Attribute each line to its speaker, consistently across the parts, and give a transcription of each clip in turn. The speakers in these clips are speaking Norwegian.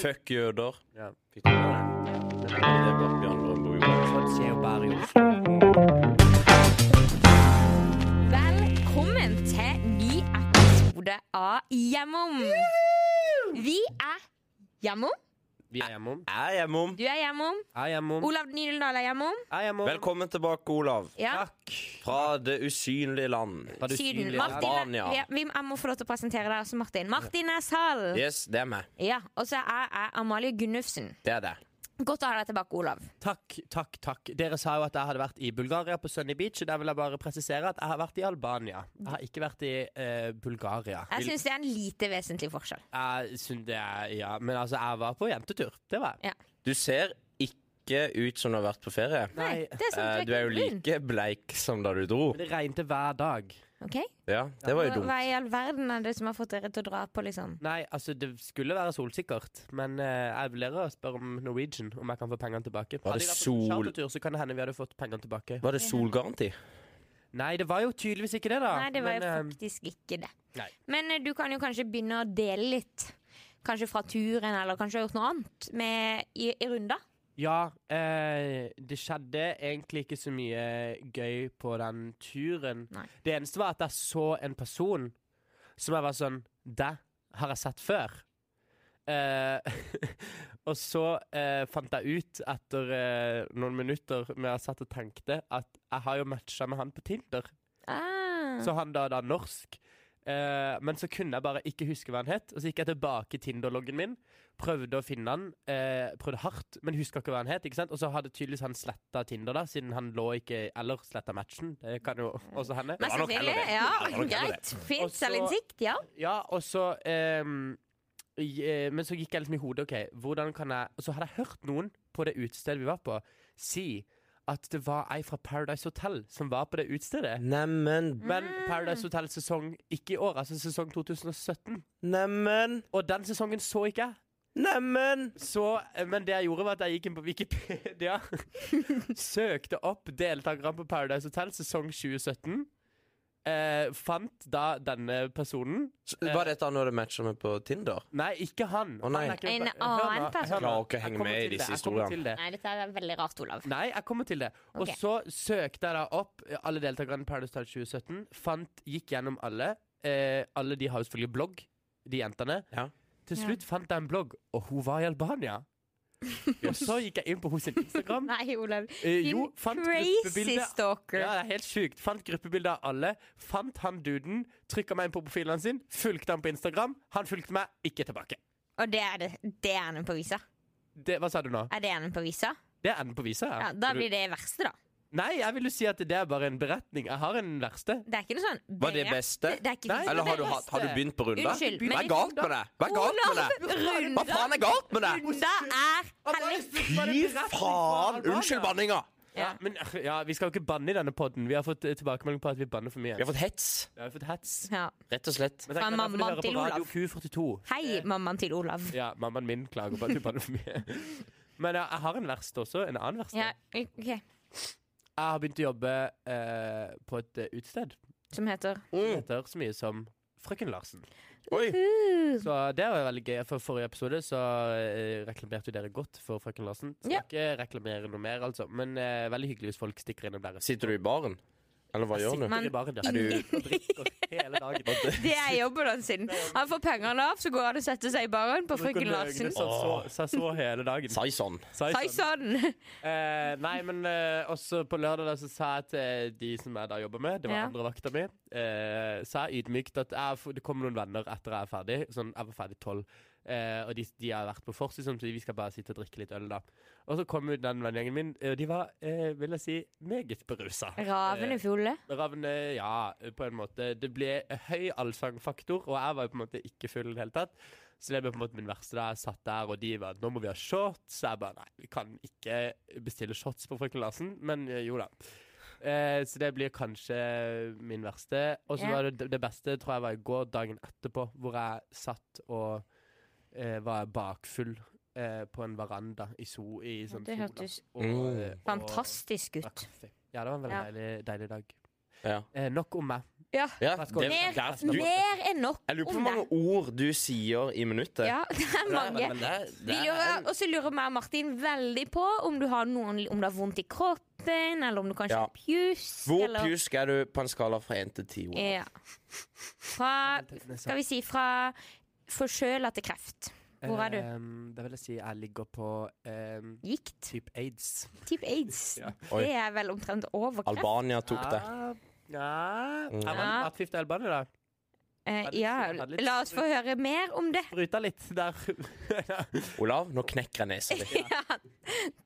Speaker 1: Fuck jøder.
Speaker 2: Ja, fikk du med deg det?
Speaker 1: Det er bak Bjørn Brøndbo gjorde.
Speaker 2: Sånn skjer jo bare i Oslo.
Speaker 3: Velkommen til ny episode av Hjemom. Vi er Hjemom.
Speaker 2: Vi er hjemom.
Speaker 1: Er hjemom.
Speaker 3: Du er Hjemom.
Speaker 2: Er hjemom.
Speaker 3: Olav Nydeldal er Hjemom.
Speaker 2: Er hjemom.
Speaker 1: Velkommen tilbake, Olav.
Speaker 3: Ja.
Speaker 1: Fra det usynlige land.
Speaker 2: Var du
Speaker 3: Syden.
Speaker 2: synlig?
Speaker 3: Martin,
Speaker 1: Albania.
Speaker 3: ja, vi, jeg må få lov til å presentere deg også, Martin. Martin Neshall.
Speaker 1: Yes, det er meg.
Speaker 3: Ja, og så er jeg Amalie Gunnufsen.
Speaker 1: Det er det.
Speaker 3: Godt å ha deg tilbake, Olav.
Speaker 2: Takk, takk, takk. Dere sa jo at jeg hadde vært i Bulgaria på Sunny Beach. og Der vil jeg bare presisere at jeg har vært i Albania. Jeg har ikke vært i eh, Bulgaria.
Speaker 3: Jeg syns det er en lite vesentlig forskjell.
Speaker 2: Jeg syns det er Ja, men altså, jeg var på jentetur. Det var jeg.
Speaker 1: Du ser ikke ut som du har vært på ferie.
Speaker 3: Nei, det er
Speaker 1: Eh,
Speaker 3: sånn
Speaker 1: Du er jo
Speaker 3: ikke
Speaker 1: like bleik som da du dro.
Speaker 2: Men det regnet hver dag.
Speaker 3: Ok?
Speaker 1: Ja, det var jo
Speaker 3: Hva
Speaker 1: dumt.
Speaker 3: i all verden er det som har fått dere til å dra på, liksom?
Speaker 2: Nei, altså, det skulle være solsikkert, men eh, jeg vurderer å spørre om Norwegian, om jeg kan få pengene tilbake.
Speaker 1: Var det
Speaker 2: Hadde jeg vært på
Speaker 1: sol-
Speaker 2: chartertur, så kan det hende vi hadde fått pengene tilbake.
Speaker 1: Var det solgaranti?
Speaker 2: Nei, det var jo tydeligvis ikke det, da.
Speaker 3: Nei, det var
Speaker 2: men,
Speaker 3: jo
Speaker 2: eh,
Speaker 3: faktisk ikke det.
Speaker 2: nei.
Speaker 3: Men eh, du kan jo kanskje begynne å dele litt. Kanskje fra turen, eller kanskje du har gjort noe annet med, i, i runder.
Speaker 2: Ja, eh, det skjedde egentlig ikke så mye gøy på den turen.
Speaker 3: Nei.
Speaker 2: Det eneste var at jeg så en person som jeg var sånn Det har jeg sett før. Eh, og så eh, fant jeg ut etter eh, noen minutter med jeg satt og tenkte, at jeg har jo matcha med han på Tinder.
Speaker 3: Ah.
Speaker 2: Så han da da norsk. Eh, men så kunne jeg bare ikke huske hva han het. Og så gikk jeg tilbake i Tinder-loggen min, prøvde å finne han. eh, prøvde hardt, men huska ikke hva han het. ikke sant? Og så hadde tydeligvis han sletta Tinder, da, siden han lå ikke Eller sletta matchen. Det kan jo også hende.
Speaker 3: Men
Speaker 1: var nok heller
Speaker 3: selvfølgelig.
Speaker 1: det.
Speaker 3: Ja,
Speaker 1: Det var nok heller
Speaker 3: greit.
Speaker 2: Og
Speaker 3: Fint
Speaker 2: så-
Speaker 3: selvinnsikt, ja.
Speaker 2: Ja, og så ehm, i- eh, Men så gikk jeg liksom i hodet, OK, hvordan kan jeg Og så hadde jeg hørt noen på det utestedet vi var på, si at det var ei fra Paradise Hotel som var på det utestedet.
Speaker 1: Neimen,
Speaker 2: Men Paradise Hotel sesong ikke i år, altså sesong 2017.
Speaker 1: neimen,
Speaker 2: Og den sesongen så ikke jeg.
Speaker 1: neimen!
Speaker 2: Så, eh, men det jeg gjorde var at jeg gikk inn på Wikipedia, søkte opp deltakerne på Paradise Hotel sesong 2017. Eh, fant da denne personen
Speaker 1: Så Var dette når du matcha meg på Tinder?
Speaker 2: Nei, ikke han.
Speaker 1: Å, nei.
Speaker 2: Han er ikke-
Speaker 3: En
Speaker 2: hør nå,
Speaker 3: annen
Speaker 2: hør nå.
Speaker 3: person.
Speaker 2: Jeg
Speaker 1: Klarer ikke å henge
Speaker 2: kommer
Speaker 1: med i
Speaker 2: til det,
Speaker 1: disse
Speaker 2: jeg kommer
Speaker 1: historiene.
Speaker 2: til det.
Speaker 3: Nei, dette er veldig rart, Olav.
Speaker 2: Nei, jeg kommer til det. Og
Speaker 3: Ok.
Speaker 2: så søkte jeg da opp eh, alle deltakerne i Paradise Hotel 2017. Fant, gikk gjennom alle. Eh, alle de har jo selvfølgelig blogg, de jentene.
Speaker 1: Ja.
Speaker 2: Til
Speaker 3: Ja.
Speaker 2: slutt fant jeg en blogg, og hun var i Albania. og så gikk jeg inn på hennes Instagram.
Speaker 3: Nei, Olav.
Speaker 2: Eh,
Speaker 3: Din
Speaker 2: jo, fant
Speaker 3: crazy
Speaker 2: gruppebilde
Speaker 3: stalker.
Speaker 2: ja, det er helt sjukt. Fant gruppebilder av alle. Fant han duden. Trykka meg inn på profilen hans sin. Fulgte han på Instagram. Han fulgte meg ikke tilbake.
Speaker 3: Og det er, det, det er enden på visa.
Speaker 2: Det, hva sa du nå?
Speaker 3: Er det enden på visa?
Speaker 2: Det er enden på visa.
Speaker 3: Ja, da blir det verste, da.
Speaker 2: Nei, jeg vil jo si at det er bare en beretning. Jeg har en verste.
Speaker 3: Det er ikke noe sånn
Speaker 1: Var det beste?
Speaker 3: Det, det er ikke
Speaker 2: Nei,
Speaker 1: Eller har du, hatt- har du begynt på runder?
Speaker 3: Unnskyld,
Speaker 1: Hva
Speaker 3: men-
Speaker 1: er galt med det? Hva er galt med det? Hva
Speaker 3: Olav,
Speaker 1: faen er galt med det?
Speaker 3: runda er hellig.
Speaker 1: Fy faen! Unnskyld banninga.
Speaker 2: Ja, men eh, ja, Vi skal jo ikke banne i denne podden. Vi har fått eh, tilbakemelding på at vi banner for mye.
Speaker 1: Vi har fått hets,
Speaker 2: Vi har jo fått hets.
Speaker 3: Ja.
Speaker 1: rett og slett.
Speaker 2: Men tenk, det
Speaker 3: Fra
Speaker 2: er derfor de
Speaker 3: mammaen
Speaker 2: hører på
Speaker 3: til
Speaker 2: Radio
Speaker 3: Olav.
Speaker 2: Q42.
Speaker 3: Hei, mammaen til Olav.
Speaker 2: Ja, mammaen min klager på at vi banner for mye. Men ja, jeg har en verste også. En annen verste.
Speaker 3: Ja, ok
Speaker 2: Jeg har begynt å jobbe eh, på et eh, utested.
Speaker 3: Som heter
Speaker 2: Det
Speaker 1: Mm.
Speaker 2: heter så mye som Frøken Larsen.
Speaker 1: Oi!
Speaker 2: Så eh, det var veldig gøy. For forrige episode så eh, reklamerte jo dere godt for Frøken Larsen. Skal
Speaker 3: Ja.
Speaker 2: ikke reklamere noe mer, altså. Men eh, veldig hyggelig hvis folk stikker innom deres.
Speaker 1: Sitter du i baren? Eller hva gjør du?
Speaker 3: Men-
Speaker 2: Sitter i baren der.
Speaker 1: Er du
Speaker 2: og drikker hele dagen.
Speaker 3: Det er jobben hans sin. Han får pengene av, så går han og setter seg i baren på Frøken Larsen.
Speaker 2: Så, så, så, så hele dagen.
Speaker 1: Saison?
Speaker 2: Sa jeg
Speaker 3: Hei
Speaker 2: sånn.
Speaker 3: sann!
Speaker 2: Eh, nei, men eh, også på lørdag da, så sa jeg til eh, de som jeg da jobber med, det var
Speaker 3: Ja.
Speaker 2: andre vakta mi, eh, sa jeg ydmykt at jeg, får- det kommer noen venner etter jeg er ferdig. Sånn, jeg var ferdig tolv. Eh, og de, de har vært på vors, liksom, så vi skal bare sitte og drikke litt øl, da. Og så kom jo den vennegjengen min, eh, og de var, eh, vil jeg si, meget berusa.
Speaker 1: Eh,
Speaker 3: Ravene fulle.
Speaker 2: Ravne, eh, ja, på en måte. Det ble høy allsangfaktor, og jeg var jo på en måte ikke full i det hele tatt. Så det ble på en måte min verste da jeg satt der, og de var nå må vi ha shots. Så jeg bare nei, vi kan ikke bestille shots på Frøken Larsen, men eh, jo da. Eh, så det blir kanskje min verste. Og så
Speaker 3: Ja.
Speaker 2: var det det beste tror jeg var i går, dagen etterpå, hvor jeg satt og eh, var bakfull eh, på en veranda i, so, i sånn
Speaker 3: det
Speaker 2: sola.
Speaker 3: hørtes
Speaker 2: Og,
Speaker 1: Mm.
Speaker 2: eh, og-
Speaker 3: Fantastisk
Speaker 2: drakk
Speaker 3: ut.
Speaker 2: kaffe. Ja, det var en veldig
Speaker 3: Ja.
Speaker 2: deilig, deilig dag.
Speaker 1: Ja.
Speaker 2: Eh, nok om meg.
Speaker 3: Ja.
Speaker 1: Ja,
Speaker 2: Let's go.
Speaker 1: det,
Speaker 2: Mer-
Speaker 1: der,
Speaker 3: Mer,
Speaker 1: du, jeg
Speaker 3: mer enn nok
Speaker 1: lurer på hvor
Speaker 3: om det.
Speaker 1: mange ord du sier i minuttet.
Speaker 3: Ja, det er mange.
Speaker 1: Men det,
Speaker 3: Vi
Speaker 1: det
Speaker 3: lurer, og så lurer vi og Martin veldig på om du har noen Om du har vondt i kroppen, eller om du kanskje
Speaker 1: Ja.
Speaker 3: har pjusk.
Speaker 1: Hvor
Speaker 3: eller- Eh,
Speaker 1: pjusk er du på en skala fra én til ti? Olav?
Speaker 3: Ja. Fra Skal vi si fra forkjøla til kreft. Hvor er du?
Speaker 1: Eh,
Speaker 2: Ehm, da vil jeg si jeg ligger på ehm,
Speaker 3: Gikt.
Speaker 2: type aids.
Speaker 3: Type aids.
Speaker 2: Ja.
Speaker 1: Oi.
Speaker 3: Det er vel omtrent over kreft.
Speaker 1: Albania tok det.
Speaker 2: Ja, Ah, ja.
Speaker 1: Mm.
Speaker 2: Jeg var litt aktivt i Albania, da.
Speaker 3: Eh,
Speaker 2: Hadde litt-
Speaker 3: ja,
Speaker 2: hadde litt-
Speaker 3: la oss få høre mer om det.
Speaker 2: Bryta litt der.
Speaker 1: Olav, nå knekker jeg nesa di.
Speaker 3: Ja,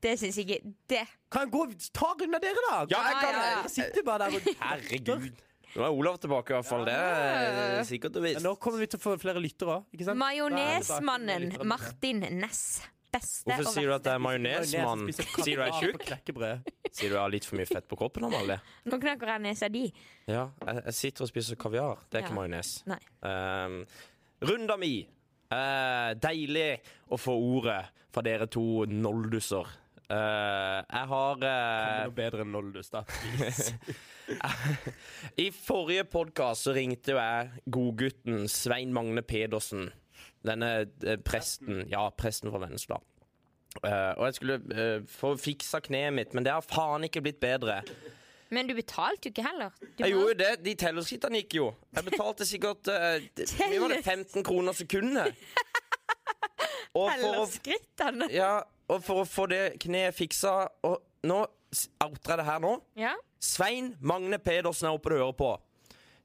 Speaker 3: det syns jeg ikke. Det. Ah,
Speaker 2: kan jeg gå ta unna dere, da?
Speaker 1: Ja, jeg
Speaker 3: kan-
Speaker 2: Dere sitter bare der og
Speaker 1: Herregud. Nå er Olav tilbake, i hvert fall. Det
Speaker 3: Ja.
Speaker 1: er sikkert og visst.
Speaker 2: Nå kommer vi til å få flere lyttere òg, ikke sant?
Speaker 3: Majonesmannen Martin Næss. Beste
Speaker 1: Hvorfor
Speaker 3: og
Speaker 1: sier du at det er
Speaker 2: Majones som
Speaker 1: majonesmann?
Speaker 2: spiser
Speaker 1: Sier du er
Speaker 2: kaviar på
Speaker 1: tjukk?
Speaker 2: knekkebrød.
Speaker 1: Sier du har litt for mye fett på kroppen? Amalie?
Speaker 3: verste. Nå knakker jeg nesa di.
Speaker 1: Ja, jeg, jeg sitter og spiser kaviar. Det er
Speaker 3: Ja.
Speaker 1: ikke majones.
Speaker 3: Nei.
Speaker 1: Um, runda mi. Eh, deilig å få ordet fra dere to nolduser. Eh, jeg har eh,
Speaker 2: Noe bedre enn Noldus, da.
Speaker 1: I forrige podkast så ringte jo jeg godgutten Svein Magne Pedersen. Denne eh, presten. Ja, presten fra Vennesla. Eh, og jeg skulle eh, få fiksa kneet mitt, men det har faen ikke blitt bedre.
Speaker 3: Men du betalte jo ikke heller. Du
Speaker 1: Jeg gjorde
Speaker 3: bare-
Speaker 1: jo det. De tellerskrittene gikk jo. Jeg betalte sikkert eh, d- Mye var det 15 kroner sekundet. Og for, å,
Speaker 3: Tellerskrittene.
Speaker 1: ja, og for å få det kneet fiksa Og nå s- outer jeg det her nå.
Speaker 3: Ja.
Speaker 1: Svein Magne Pedersen er oppe og hører på.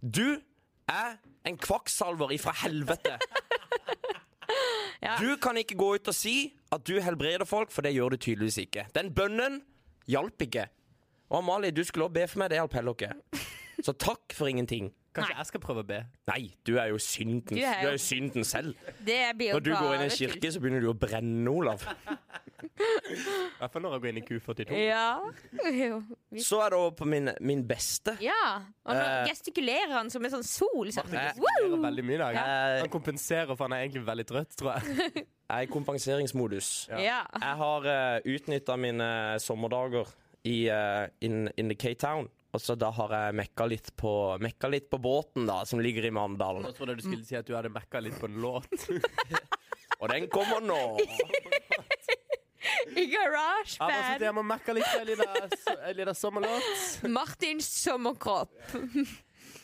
Speaker 1: Du er en kvakksalver ifra helvete.
Speaker 3: Ja.
Speaker 1: Du kan ikke gå ut og si at du helbreder folk, for det gjør du tydeligvis ikke. Den bønnen hjalp ikke. Og Amalie, du skulle også be for meg, det hjalp heller ikke. Så takk for ingenting.
Speaker 2: Kanskje jeg skal prøve å be?
Speaker 1: Nei, du er jo synden,
Speaker 3: Du
Speaker 1: du
Speaker 3: er
Speaker 1: er
Speaker 3: jo-
Speaker 1: jo synden selv.
Speaker 3: Det blir jo
Speaker 1: Når du går inn i en
Speaker 3: bare tull.
Speaker 1: kirke, så begynner du å brenne, Olav.
Speaker 2: I hvert fall når jeg går inn i Q42.
Speaker 3: Ja. Jo. Vi-
Speaker 1: Så er det over på min, min beste.
Speaker 3: ja. Og nå
Speaker 1: Eh.
Speaker 3: gestikulerer han som en sånn sol. Sånn.
Speaker 1: Eh.
Speaker 2: Han
Speaker 3: Wow!
Speaker 2: gjør veldig mye i dag.
Speaker 1: Ja.
Speaker 2: Han kompenserer, for han er egentlig veldig trøtt, tror jeg.
Speaker 1: Jeg er i kompenseringsmodus.
Speaker 3: Ja.
Speaker 1: Jeg har uh, utnytta mine eh, sommerdager i eh, in, in the K-Town. Og så da har jeg mekka litt på, mekka litt på båten, da, som ligger i Mandalen.
Speaker 2: Nå trodde jeg du skulle si at du hadde mekka litt på en låt.
Speaker 1: Og den kommer nå!
Speaker 3: I
Speaker 2: Jeg bare sitter
Speaker 3: garasjeband.
Speaker 2: hjemme og mekker litt på en liten so- en liten sommerlåt.
Speaker 3: Martins sommerkropp.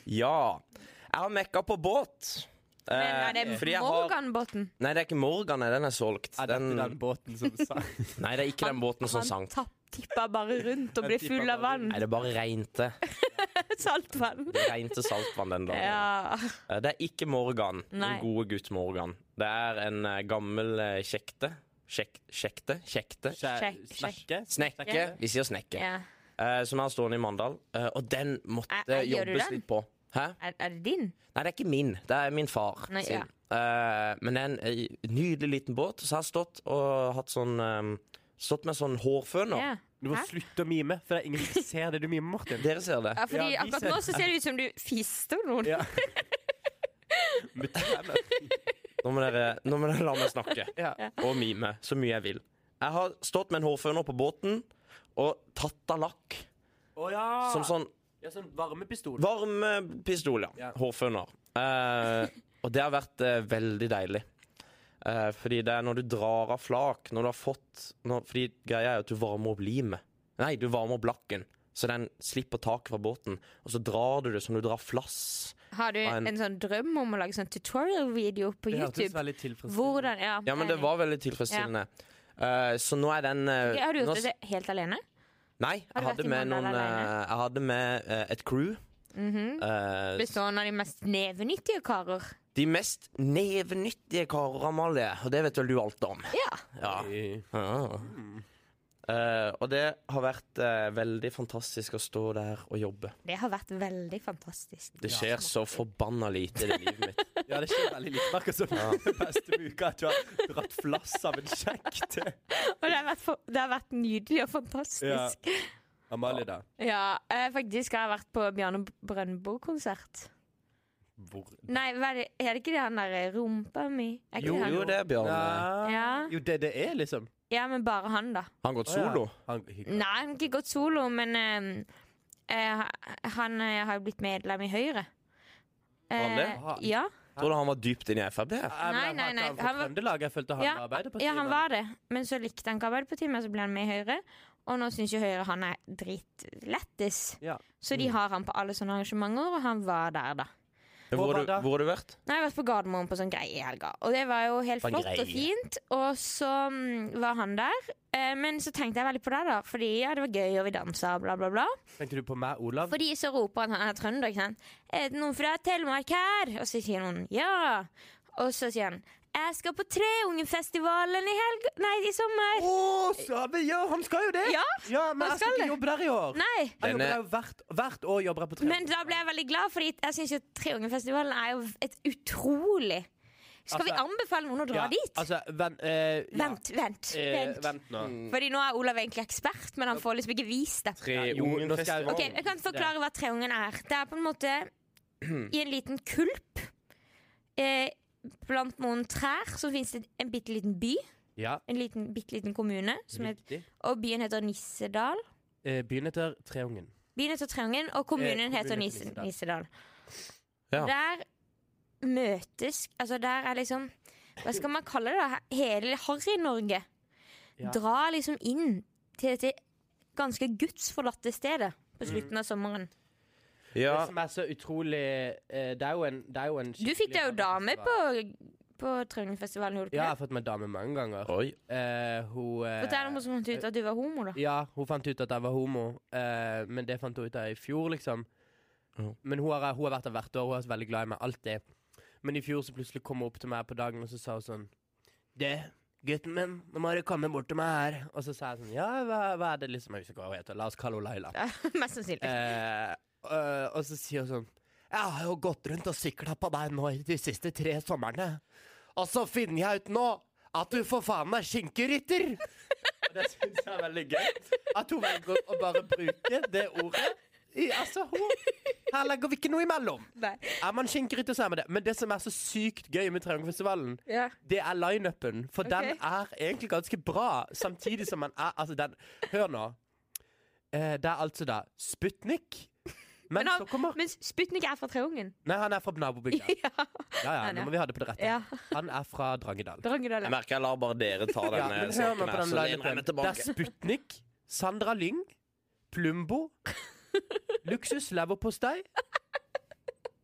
Speaker 1: Ja. Jeg har mekka på båt. Eh,
Speaker 3: Men er det
Speaker 1: fordi jeg har-
Speaker 3: Morganbotn?
Speaker 1: Nei, det er ikke Morgan. Den er solgt.
Speaker 2: Ah, Er
Speaker 1: Den...
Speaker 2: dette den båten som sa
Speaker 1: Nei, det er ikke den båten som
Speaker 3: Han
Speaker 1: sank.
Speaker 3: tapp- tipper bare rundt og
Speaker 2: Han
Speaker 3: blir
Speaker 2: tipper
Speaker 3: full av
Speaker 2: bare
Speaker 3: vann.
Speaker 2: rundt.
Speaker 1: Nei, det bare regnte.
Speaker 3: Saltvann.
Speaker 1: Det regnte saltvann den dagen.
Speaker 3: Ja.
Speaker 1: Eh, Det er ikke Morgan,
Speaker 3: Nei.
Speaker 1: den gode gutt Morgan. Det er en eh, gammel eh, kjekte. Kjek, kjekte? Kjekte?
Speaker 3: Sjekk,
Speaker 2: Snekke?
Speaker 1: Snekke. Vi sier snekke.
Speaker 3: ja.
Speaker 1: Eh, som er stående i Mandal. Eh, og den måtte
Speaker 3: Er- er- Eh, gjør du
Speaker 1: jobbes
Speaker 3: den?
Speaker 1: litt på. Hæ?
Speaker 3: Er, er det din?
Speaker 1: Nei, det er ikke min. Det er min far
Speaker 3: Nei,
Speaker 1: sin.
Speaker 3: ja.
Speaker 1: Eh, men det er en eh, nydelig liten båt. Så jeg har stått og hatt sånn eh, Stått med sånn hårføner.
Speaker 3: Ja.
Speaker 2: Du må
Speaker 3: Hæ?
Speaker 2: slutte å mime, for det er ingen som ser det du mimer, Martin.
Speaker 1: Dere ser det.
Speaker 3: Ja, fordi
Speaker 2: Ja, vi
Speaker 3: akkurat
Speaker 2: ser-
Speaker 3: nå så ser det ut som du fister noen.
Speaker 2: Ja. Med tenner.
Speaker 1: Nå må dere, nå må dere la meg snakke.
Speaker 2: Ja.
Speaker 1: og mime så mye jeg vil. Jeg har stått med en hårføner på båten og tatt av lakk.
Speaker 2: Å ja.
Speaker 1: Som sånn
Speaker 2: ja! Sånn varmepistol.
Speaker 1: varmepistol, eh, ja.
Speaker 2: Ja.
Speaker 1: Hårføner. Eh, og det har vært eh, veldig deilig. Eh, fordi det er når du drar av flak Når du har fått når, Fordi greia er jo at du varmer opp limet. Nei, du varmer opp lakken. Så den slipper taket fra båten, og så drar du det som du drar flass.
Speaker 3: Har du
Speaker 1: Har en-
Speaker 3: en sånn drøm om å lage sånn tutorial-video på
Speaker 2: Det hørtes
Speaker 3: YouTube?
Speaker 2: veldig tilfredsstillende
Speaker 3: Hvordan, ja,
Speaker 1: Ja, men det var veldig tilfredsstillende. Eh, så nå er den eh,
Speaker 3: Ok, Har du
Speaker 1: nå
Speaker 3: gjort
Speaker 1: s-
Speaker 3: det helt alene?
Speaker 1: Nei,
Speaker 3: Har
Speaker 1: jeg
Speaker 3: du vært
Speaker 1: hadde
Speaker 3: i
Speaker 1: med, noen,
Speaker 3: Mandal
Speaker 1: eh,
Speaker 3: alene?
Speaker 1: jeg hadde med eh, et crew.
Speaker 3: Mhm.
Speaker 1: Eh,
Speaker 3: Bestående av de mest nevenyttige karer?
Speaker 1: de mest nevenyttige karer, Amalie, og det vet vel du alt om?
Speaker 3: Ja.
Speaker 1: Ja. Ah. Eh, og det har vært eh, veldig fantastisk å stå der og jobbe.
Speaker 3: Det har vært veldig fantastisk.
Speaker 1: Det skjer så forbanna lite i det livet mitt.
Speaker 2: Ja, det skjer veldig litt. Merker som den beste med uka at du har dratt flass av en sjekk til
Speaker 3: Og det har vært, fa- det har vært nydelig og fantastisk. Ja,
Speaker 2: Amalie, da.
Speaker 3: eh, faktisk har jeg vært på Bjarne Brøndbo-konsert.
Speaker 2: Hvor
Speaker 3: Nei, hva er det, er det ikke det han derre rumpa mi? Er ikke
Speaker 1: Jo,
Speaker 3: det han?
Speaker 1: jo, det er Bjørn.
Speaker 2: Ja.
Speaker 3: Ja.
Speaker 2: Jo, det det er, liksom.
Speaker 3: ja, men bare han, da.
Speaker 1: Han har gått solo.
Speaker 2: Han,
Speaker 3: Nei, ehm, han har ikke gått solo, men eh, eh, han eh, har jo blitt medlem i Høyre. Eh,
Speaker 1: Var han det?
Speaker 2: Ah,
Speaker 3: ja.
Speaker 1: Tror du han var dypt inne i Frp?
Speaker 3: Nei,
Speaker 2: men
Speaker 3: nei,
Speaker 2: han-
Speaker 3: nei,
Speaker 2: Han var
Speaker 3: han
Speaker 2: fra
Speaker 3: var-
Speaker 2: Trøndelag. Jeg følte han
Speaker 3: Ja,
Speaker 2: var Arbeiderpartiet.
Speaker 3: ja, han
Speaker 2: men-
Speaker 3: var det, men så likte han ikke Arbeiderpartiet, men så ble han med i Høyre. Og nå syns jo Høyre han er dritlættis.
Speaker 2: Ja.
Speaker 3: Så
Speaker 1: Mm.
Speaker 3: de har han på alle sånne arrangementer, og han var der, da.
Speaker 1: Men Hvor,
Speaker 2: Hvor
Speaker 1: har
Speaker 2: var
Speaker 1: du-
Speaker 2: det?
Speaker 1: hvor har du vært?
Speaker 3: Nei, jeg har vært på Gardermoen på sånn greie i helga, og det var jo helt
Speaker 1: På en
Speaker 3: flott og
Speaker 1: greie.
Speaker 3: fint. Og så mm, var han der, eh, men så tenkte jeg veldig på det, da, fordi ja, det var gøy, og vi dansa, bla, bla, bla.
Speaker 2: Tenkte du på meg, Olav?
Speaker 3: Fordi så roper han, han er trønder, ikke sant. Er det noen fra Telemark her? Og så sier noen ja. Og så sier han jeg skal på Treungenfestivalen i helg... Nei, i sommer.
Speaker 2: Å, Sabe, ja, han skal jo det!
Speaker 3: Ja,
Speaker 2: Men
Speaker 3: han
Speaker 2: jeg skal
Speaker 3: skal
Speaker 2: ikke
Speaker 3: det.
Speaker 2: jobbe der i år.
Speaker 3: Nei.
Speaker 2: Han jobber
Speaker 1: Denne-
Speaker 2: der jo hvert, hvert år jobber jeg på tre.
Speaker 3: Men da ble jeg veldig glad, Fordi jeg syns jo Treungefestivalen er jo et utrolig Skal vi
Speaker 2: Altså-
Speaker 3: anbefale noen å dra
Speaker 2: Ja,
Speaker 3: dit?
Speaker 2: Altså, vent eh, ja.
Speaker 3: Vent, vent.
Speaker 2: Eh,
Speaker 3: vent.
Speaker 2: vent nå.
Speaker 1: Mm.
Speaker 3: Fordi nå er Olav egentlig ekspert, men han får liksom ikke vist det.
Speaker 1: Tre
Speaker 2: Ja, jo,
Speaker 1: ungen
Speaker 2: nå skal jeg-
Speaker 1: festival.
Speaker 3: Ok, Jeg kan forklare hva Treungen er. Det er på en måte i en liten kulp eh, blant noen trær så fins det en bitte liten by.
Speaker 2: Ja,
Speaker 3: En liten, bitte liten kommune. Som het-
Speaker 2: riktig.
Speaker 3: og byen heter Nissedal.
Speaker 2: Eh, byen heter Treungen.
Speaker 3: Byen heter Treungen, og kommunen
Speaker 2: Eh,
Speaker 3: heter
Speaker 2: kommunen
Speaker 3: Nis
Speaker 2: heter
Speaker 3: Nissedal.
Speaker 1: Ja.
Speaker 3: Der møtes Altså, der er liksom Hva skal man kalle det? da? Hele Harry-Norge
Speaker 2: Ja.
Speaker 3: drar liksom inn til dette ganske gudsforlatte stedet
Speaker 2: Mm.
Speaker 3: på slutten av sommeren.
Speaker 1: Ja,
Speaker 2: Det som er så utrolig eh, Det er jo en, det er jo en
Speaker 3: Du fikk deg jo
Speaker 2: skikkelig
Speaker 3: dame på,
Speaker 2: festival.
Speaker 3: på Trønderfestivalen, gjorde du
Speaker 2: Ja,
Speaker 3: ikke
Speaker 2: jeg
Speaker 3: det?
Speaker 2: har fått meg dame mange ganger.
Speaker 1: oi.
Speaker 2: Eh, hun eh,
Speaker 3: Fortell om hvordan du fant ut at du var homo, da.
Speaker 2: Ja, hun fant ut at jeg var homo, eh, men det fant hun ut av i fjor, liksom.
Speaker 1: Ja.
Speaker 2: Men hun har, hun har vært der hvert år, hun er så veldig glad i meg, alltid. Men i fjor så plutselig kom hun opp til meg på dagen, og så sa hun sånn Du, gutten min, nå må du komme bort til meg her. Og så sa jeg sånn Ja, hva, hva er det liksom Jeg husker ikke hva hun heter. La oss kalle henne Laila.
Speaker 3: Mest sannsynlig.
Speaker 2: Eh, øh, og så sier hun sånn Jeg har jo gått rundt og sykla på deg nå i de siste tre somrene. Og så finner jeg ut nå at du for faen meg skinkerytter! Og det syns jeg er veldig gøy. At hun velger å bare bruke det ordet. I, altså, hun Her legger vi ikke noe imellom.
Speaker 3: Nei.
Speaker 2: Er man skinkerytter, så er man det. Men det som er så sykt gøy med Triangelfestivalen,
Speaker 3: Ja.
Speaker 2: det er lineupen, for den
Speaker 3: Ok.
Speaker 2: er egentlig ganske bra. Samtidig som man er Altså, den Hør nå. Eh, det er altså da Sputnik. Men,
Speaker 3: Men,
Speaker 2: så
Speaker 3: han,
Speaker 2: kommer
Speaker 3: men Sputnik er fra Treungen.
Speaker 2: Nei, han er fra nabobygda.
Speaker 3: Ja.
Speaker 2: Ja, ja,
Speaker 3: han er.
Speaker 2: nå må vi ha det på det rette.
Speaker 3: ja.
Speaker 2: Han er fra Drangedal.
Speaker 3: Drangedal.
Speaker 1: Jeg merker jeg lar bare dere ta
Speaker 2: Ja,
Speaker 1: denne
Speaker 2: men hør nå
Speaker 1: saken
Speaker 2: på
Speaker 1: her,
Speaker 2: den
Speaker 1: så lener jeg meg
Speaker 2: lineupen. Det er
Speaker 1: tilbake.
Speaker 2: Sputnik, Sandra Lyng, Plumbo, Luksus leverpostei,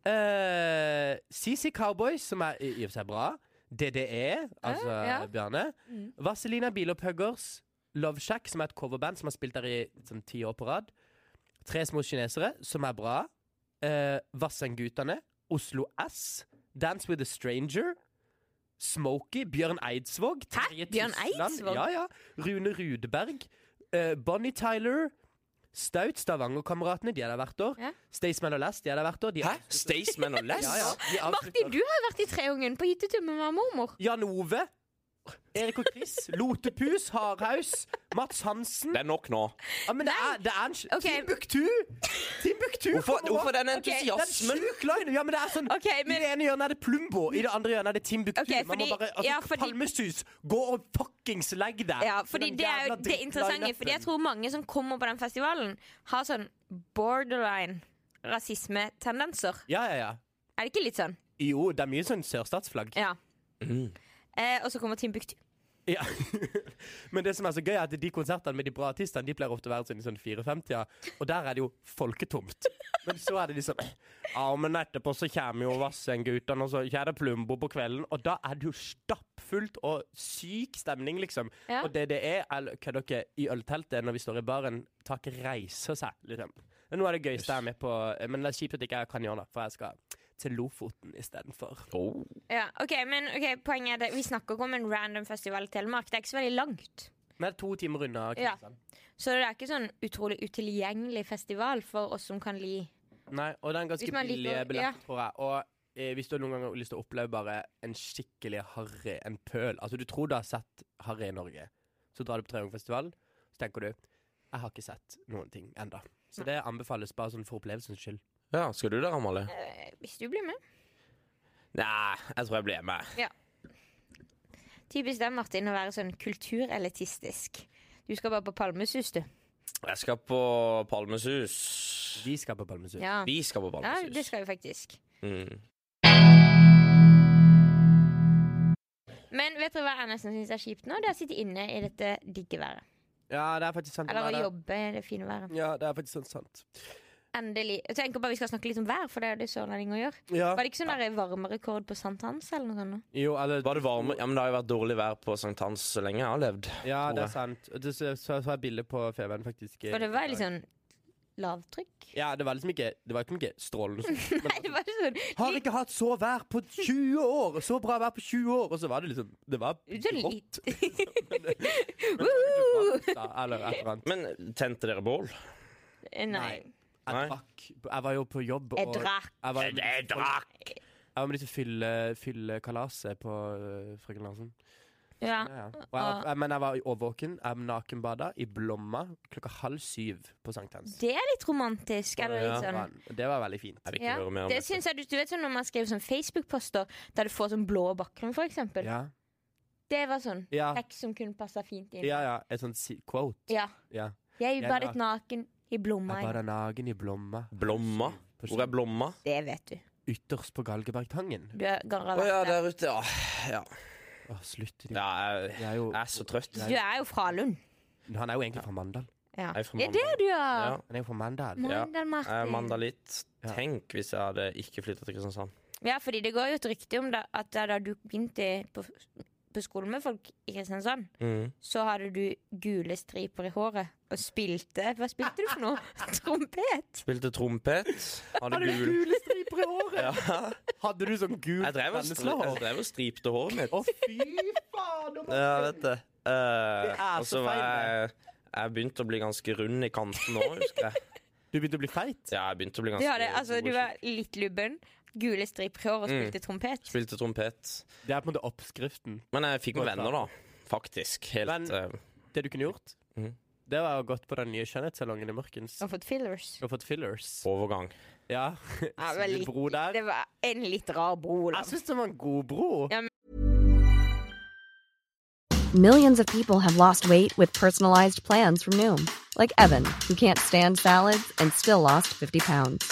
Speaker 2: eh, CC Cowboys, som er i i og for seg bra, DDE, altså
Speaker 3: ja.
Speaker 2: Bjarne,
Speaker 3: Mm.
Speaker 2: Vaselina Bilopphøggers, Love Shack, som er et coverband som har spilt der i sånn ti år på rad, Tre små kinesere, som er bra, eh, Vassendgutane, Oslo S, Dance with a Stranger, Smokey, Bjørn Eidsvåg. Terje
Speaker 3: Bjørn
Speaker 2: Tysland,
Speaker 3: Eidsvåg?
Speaker 2: Ja, ja. Rune Rudberg. eh, Bonnie Tyler. Staut, Stavanger-kameratene, de er der hvert år.
Speaker 3: Ja.
Speaker 2: Staysman og Last, de er der hvert år. De
Speaker 1: Hæ? Staysman og Less?
Speaker 2: Ja, ja, de avslutter-
Speaker 3: Martin, du har jo vært i Treungen på hyttetur med mamma og mormor.
Speaker 2: Jan Ove. Erik og Chris. Lotepus. Hardhaus. Mats Hansen.
Speaker 1: Det er nok nå.
Speaker 2: Ja, men det er, det er en sj-
Speaker 3: Ok.
Speaker 2: Timbuktu! Timbuktu
Speaker 1: Hvorfor,
Speaker 2: kommer
Speaker 1: hvorfor
Speaker 2: opp.
Speaker 1: denne
Speaker 2: Det er en
Speaker 1: entusiasmen?
Speaker 2: sjuk line! Ja, men det er sånn
Speaker 3: Ok, men-
Speaker 2: I det ene hjørnet er det Plumbo, i det andre hjørnet er det Timbuktu.
Speaker 3: Ok,
Speaker 2: Man må
Speaker 3: fordi-
Speaker 2: bare altså,
Speaker 3: ja, fordi-
Speaker 2: Palmesus, gå og fuckings legg deg!
Speaker 3: Ja, fordi
Speaker 2: Den
Speaker 3: det er jo
Speaker 2: jævla
Speaker 3: det interessante.
Speaker 2: drittline-upen.
Speaker 3: Fordi jeg tror mange som kommer på den festivalen, har sånn borderline rasismetendenser.
Speaker 2: Ja, ja, ja.
Speaker 3: Er det ikke litt sånn?
Speaker 2: Jo, det er mye sånn sørstatsflagg.
Speaker 3: Ja.
Speaker 2: Mm.
Speaker 3: Eh, og så kommer Timbuktu.
Speaker 2: Ja. Men det som er så gøy, er at de konsertene med de bra artistene De pleier ofte å være sånn i sånn 54-tida, og der er det jo folketomt. Men så er det liksom Ja, men etterpå så kommer jo Vassendgutene, og så kommer det Plumbo på kvelden, og da er det jo stappfullt og syk stemning, liksom.
Speaker 3: Ja.
Speaker 2: Og det det er, er hva dere i ølteltet når vi står i baren, taket reiser seg, liksom. Men Nå er det gøyeste jeg er med på, men det er kjipt at ikke jeg kan gjøre det, for jeg skal til Lofoten istedenfor.
Speaker 1: Oh.
Speaker 3: Ja, ok, men ok, Poenget er det, vi snakker ikke om en random festival i Telemark. Det er ikke så veldig langt.
Speaker 2: Men det er to timer unna
Speaker 3: Ja.
Speaker 2: Kristiansand.
Speaker 3: Så det er ikke sånn utrolig utilgjengelig festival for oss som kan li
Speaker 2: Nei, og det er en ganske
Speaker 3: Hvis man liker
Speaker 2: billig
Speaker 3: å-
Speaker 2: billett,
Speaker 3: ja.
Speaker 2: tror jeg. Og eh, hvis du noen gang har lyst til å oppleve bare en skikkelig harry, en pøl Altså, du tror du har sett harry i Norge. Så drar du på Treungfestivalen, så tenker du Jeg har ikke sett noen ting enda Så det anbefales bare sånn for opplevelsens skyld.
Speaker 1: Ja, skal du der, Amalie?
Speaker 3: eh, Hvis du blir med.
Speaker 1: Nei, jeg tror jeg blir med.
Speaker 3: Typisk deg, Martin, å være sånn kulturelitistisk. Du skal bare på Palmesus, du.
Speaker 1: Jeg skal på Palmesus.
Speaker 2: Vi skal på Palmesus.
Speaker 3: Ja.
Speaker 1: Vi skal på
Speaker 3: ja, det
Speaker 1: Palmesus.
Speaker 3: skal jo faktisk.
Speaker 1: Mm.
Speaker 3: Men vet dere hva jeg nesten syns er kjipt nå? Det er å sitte inne i dette digge været.
Speaker 2: Ja, det er faktisk sant.
Speaker 3: Eller
Speaker 2: Nei,
Speaker 3: å
Speaker 2: det-
Speaker 3: jobbe i det fine været.
Speaker 2: Ja, det er faktisk sånn sant.
Speaker 3: Endelig. Jeg tenker bare vi skal snakke litt om vær, for det er jo det sørlendinger gjør.
Speaker 2: Ja.
Speaker 3: Var det ikke sånn der varmerekord på sankthans eller noe sånt? nå?
Speaker 2: Jo, eller
Speaker 1: Var det varme? Ja, men det har jo vært dårlig vær på sankthans så lenge jeg har levd.
Speaker 2: Ja,
Speaker 1: tror
Speaker 2: det er
Speaker 1: jeg.
Speaker 2: sant. Og Det så, så, så jeg bilde på feberen, faktisk. eh,
Speaker 3: For det var litt sånn lavtrykk.
Speaker 2: Ja, det var liksom ikke Det var ikke noe strålende sånn.
Speaker 3: Nei, det var sånn
Speaker 2: Har ikke hatt så vær på 20 år! Så bra vær på 20 år! Og så var det liksom Det var
Speaker 3: Det er
Speaker 2: grått.
Speaker 3: litt-
Speaker 2: Men det var jo ikke varmt, da, Eller et eller annet.
Speaker 1: Men tente dere bål?
Speaker 3: eh, Nei.
Speaker 1: Nei.
Speaker 2: Jeg drakk. Jeg var jo på jobb,
Speaker 3: Jeg
Speaker 2: og
Speaker 3: drakk.
Speaker 2: jeg var med,
Speaker 1: Jeg Eh, drakk!
Speaker 2: jeg var med disse fylle, fyllekalaset på øh, Frøken Larsen.
Speaker 3: Ja.
Speaker 2: Ja, ja. Og jeg,
Speaker 3: Ah.
Speaker 2: var- jeg, men jeg var i overvåken. Jeg nakenbada i Blomma klokka halv syv på sankthans.
Speaker 3: Det er litt romantisk. Eller litt
Speaker 2: Det
Speaker 3: sånn
Speaker 2: var- Det var veldig fint.
Speaker 1: Jeg vil ikke
Speaker 3: Ja,
Speaker 1: høre mer om
Speaker 3: det
Speaker 1: dette.
Speaker 3: synes jeg, du, du vet sånn Når man skriver sånn Facebook-poster der du får sånn blå bakgrunn, for eksempel.
Speaker 2: Ja.
Speaker 3: Det var sånn
Speaker 2: Ja.
Speaker 3: tekst som kunne passe fint inn.
Speaker 2: Ja, ja. Et sånt si quote.
Speaker 3: Ja.
Speaker 2: Ja.
Speaker 3: Jeg
Speaker 2: Jeg
Speaker 3: badet naken i blomma.
Speaker 2: Jeg bader nagen i blomma.
Speaker 1: Blomma?
Speaker 2: På
Speaker 1: Hvor er Blomma?
Speaker 3: Det vet du.
Speaker 2: Ytterst på Galgebergtangen.
Speaker 3: Du er
Speaker 1: Å
Speaker 3: garra
Speaker 1: ja,
Speaker 3: vært der.
Speaker 1: der ute, ja.
Speaker 2: Åh, slutt.
Speaker 1: ja jeg,
Speaker 2: Jeg er jo,
Speaker 1: jeg er så trøtt.
Speaker 3: Du er jo fra Lund.
Speaker 2: han er jo egentlig fra Mandal.
Speaker 3: Ja.
Speaker 1: Jeg er fra
Speaker 3: Det er det du
Speaker 1: Ja.
Speaker 3: er!
Speaker 2: Han er jo fra Mandal.
Speaker 1: Ja.
Speaker 3: Mandal
Speaker 1: Jeg er
Speaker 3: Martin.
Speaker 1: mandalitt.
Speaker 2: Ja.
Speaker 1: Tenk hvis jeg hadde ikke flytta til Kristiansand.
Speaker 3: Ja, fordi det går jo et rykte om da, at da du begynte på, på skolen med folk i Kristiansand,
Speaker 1: Mm.
Speaker 3: så hadde du gule striper i håret og spilte Hva spilte du for noe? Trompet?
Speaker 1: Spilte trompet. Hadde gul
Speaker 2: gule striper i håret?
Speaker 1: ja.
Speaker 2: Hadde du sånn gul
Speaker 1: Jeg drev og stri- jeg
Speaker 2: penneslår?
Speaker 1: drev og stripte håret mitt.
Speaker 2: Å, fy faen! nå må-
Speaker 1: Ja, jeg vet det. Eh,
Speaker 2: Det er
Speaker 1: og
Speaker 2: så
Speaker 1: så var jeg Jeg begynte å bli ganske rund i kanten nå, husker jeg.
Speaker 2: Du begynte å bli feit?
Speaker 1: Ja, jeg begynte å bli
Speaker 3: Du,
Speaker 1: ganske
Speaker 3: hadde, altså, du var litt lubben, gule striper i håret og
Speaker 1: Mm.
Speaker 3: spilte trompet.
Speaker 1: Spilte trompet.
Speaker 2: Det er på en måte oppskriften.
Speaker 1: Men jeg fikk meg venner, da. Faktisk. Helt
Speaker 2: Men-
Speaker 1: eh,
Speaker 2: Det du kunne gjort,
Speaker 1: Mhm.
Speaker 2: det var å gått på den nye skjønnhetssalongen i Mørkens
Speaker 3: Og fått fillers.
Speaker 2: og fått fillers.
Speaker 1: overgang.
Speaker 2: Ja.
Speaker 3: Ja, det var litt-
Speaker 2: Bro der.
Speaker 3: Det var en litt rar bro. da.
Speaker 1: Altså,
Speaker 2: Jeg syns det var en god bro.
Speaker 4: Millions of people have lost weight with personalized plans from Noom, like Evan, who can't stand salads and still lost 50 pounds.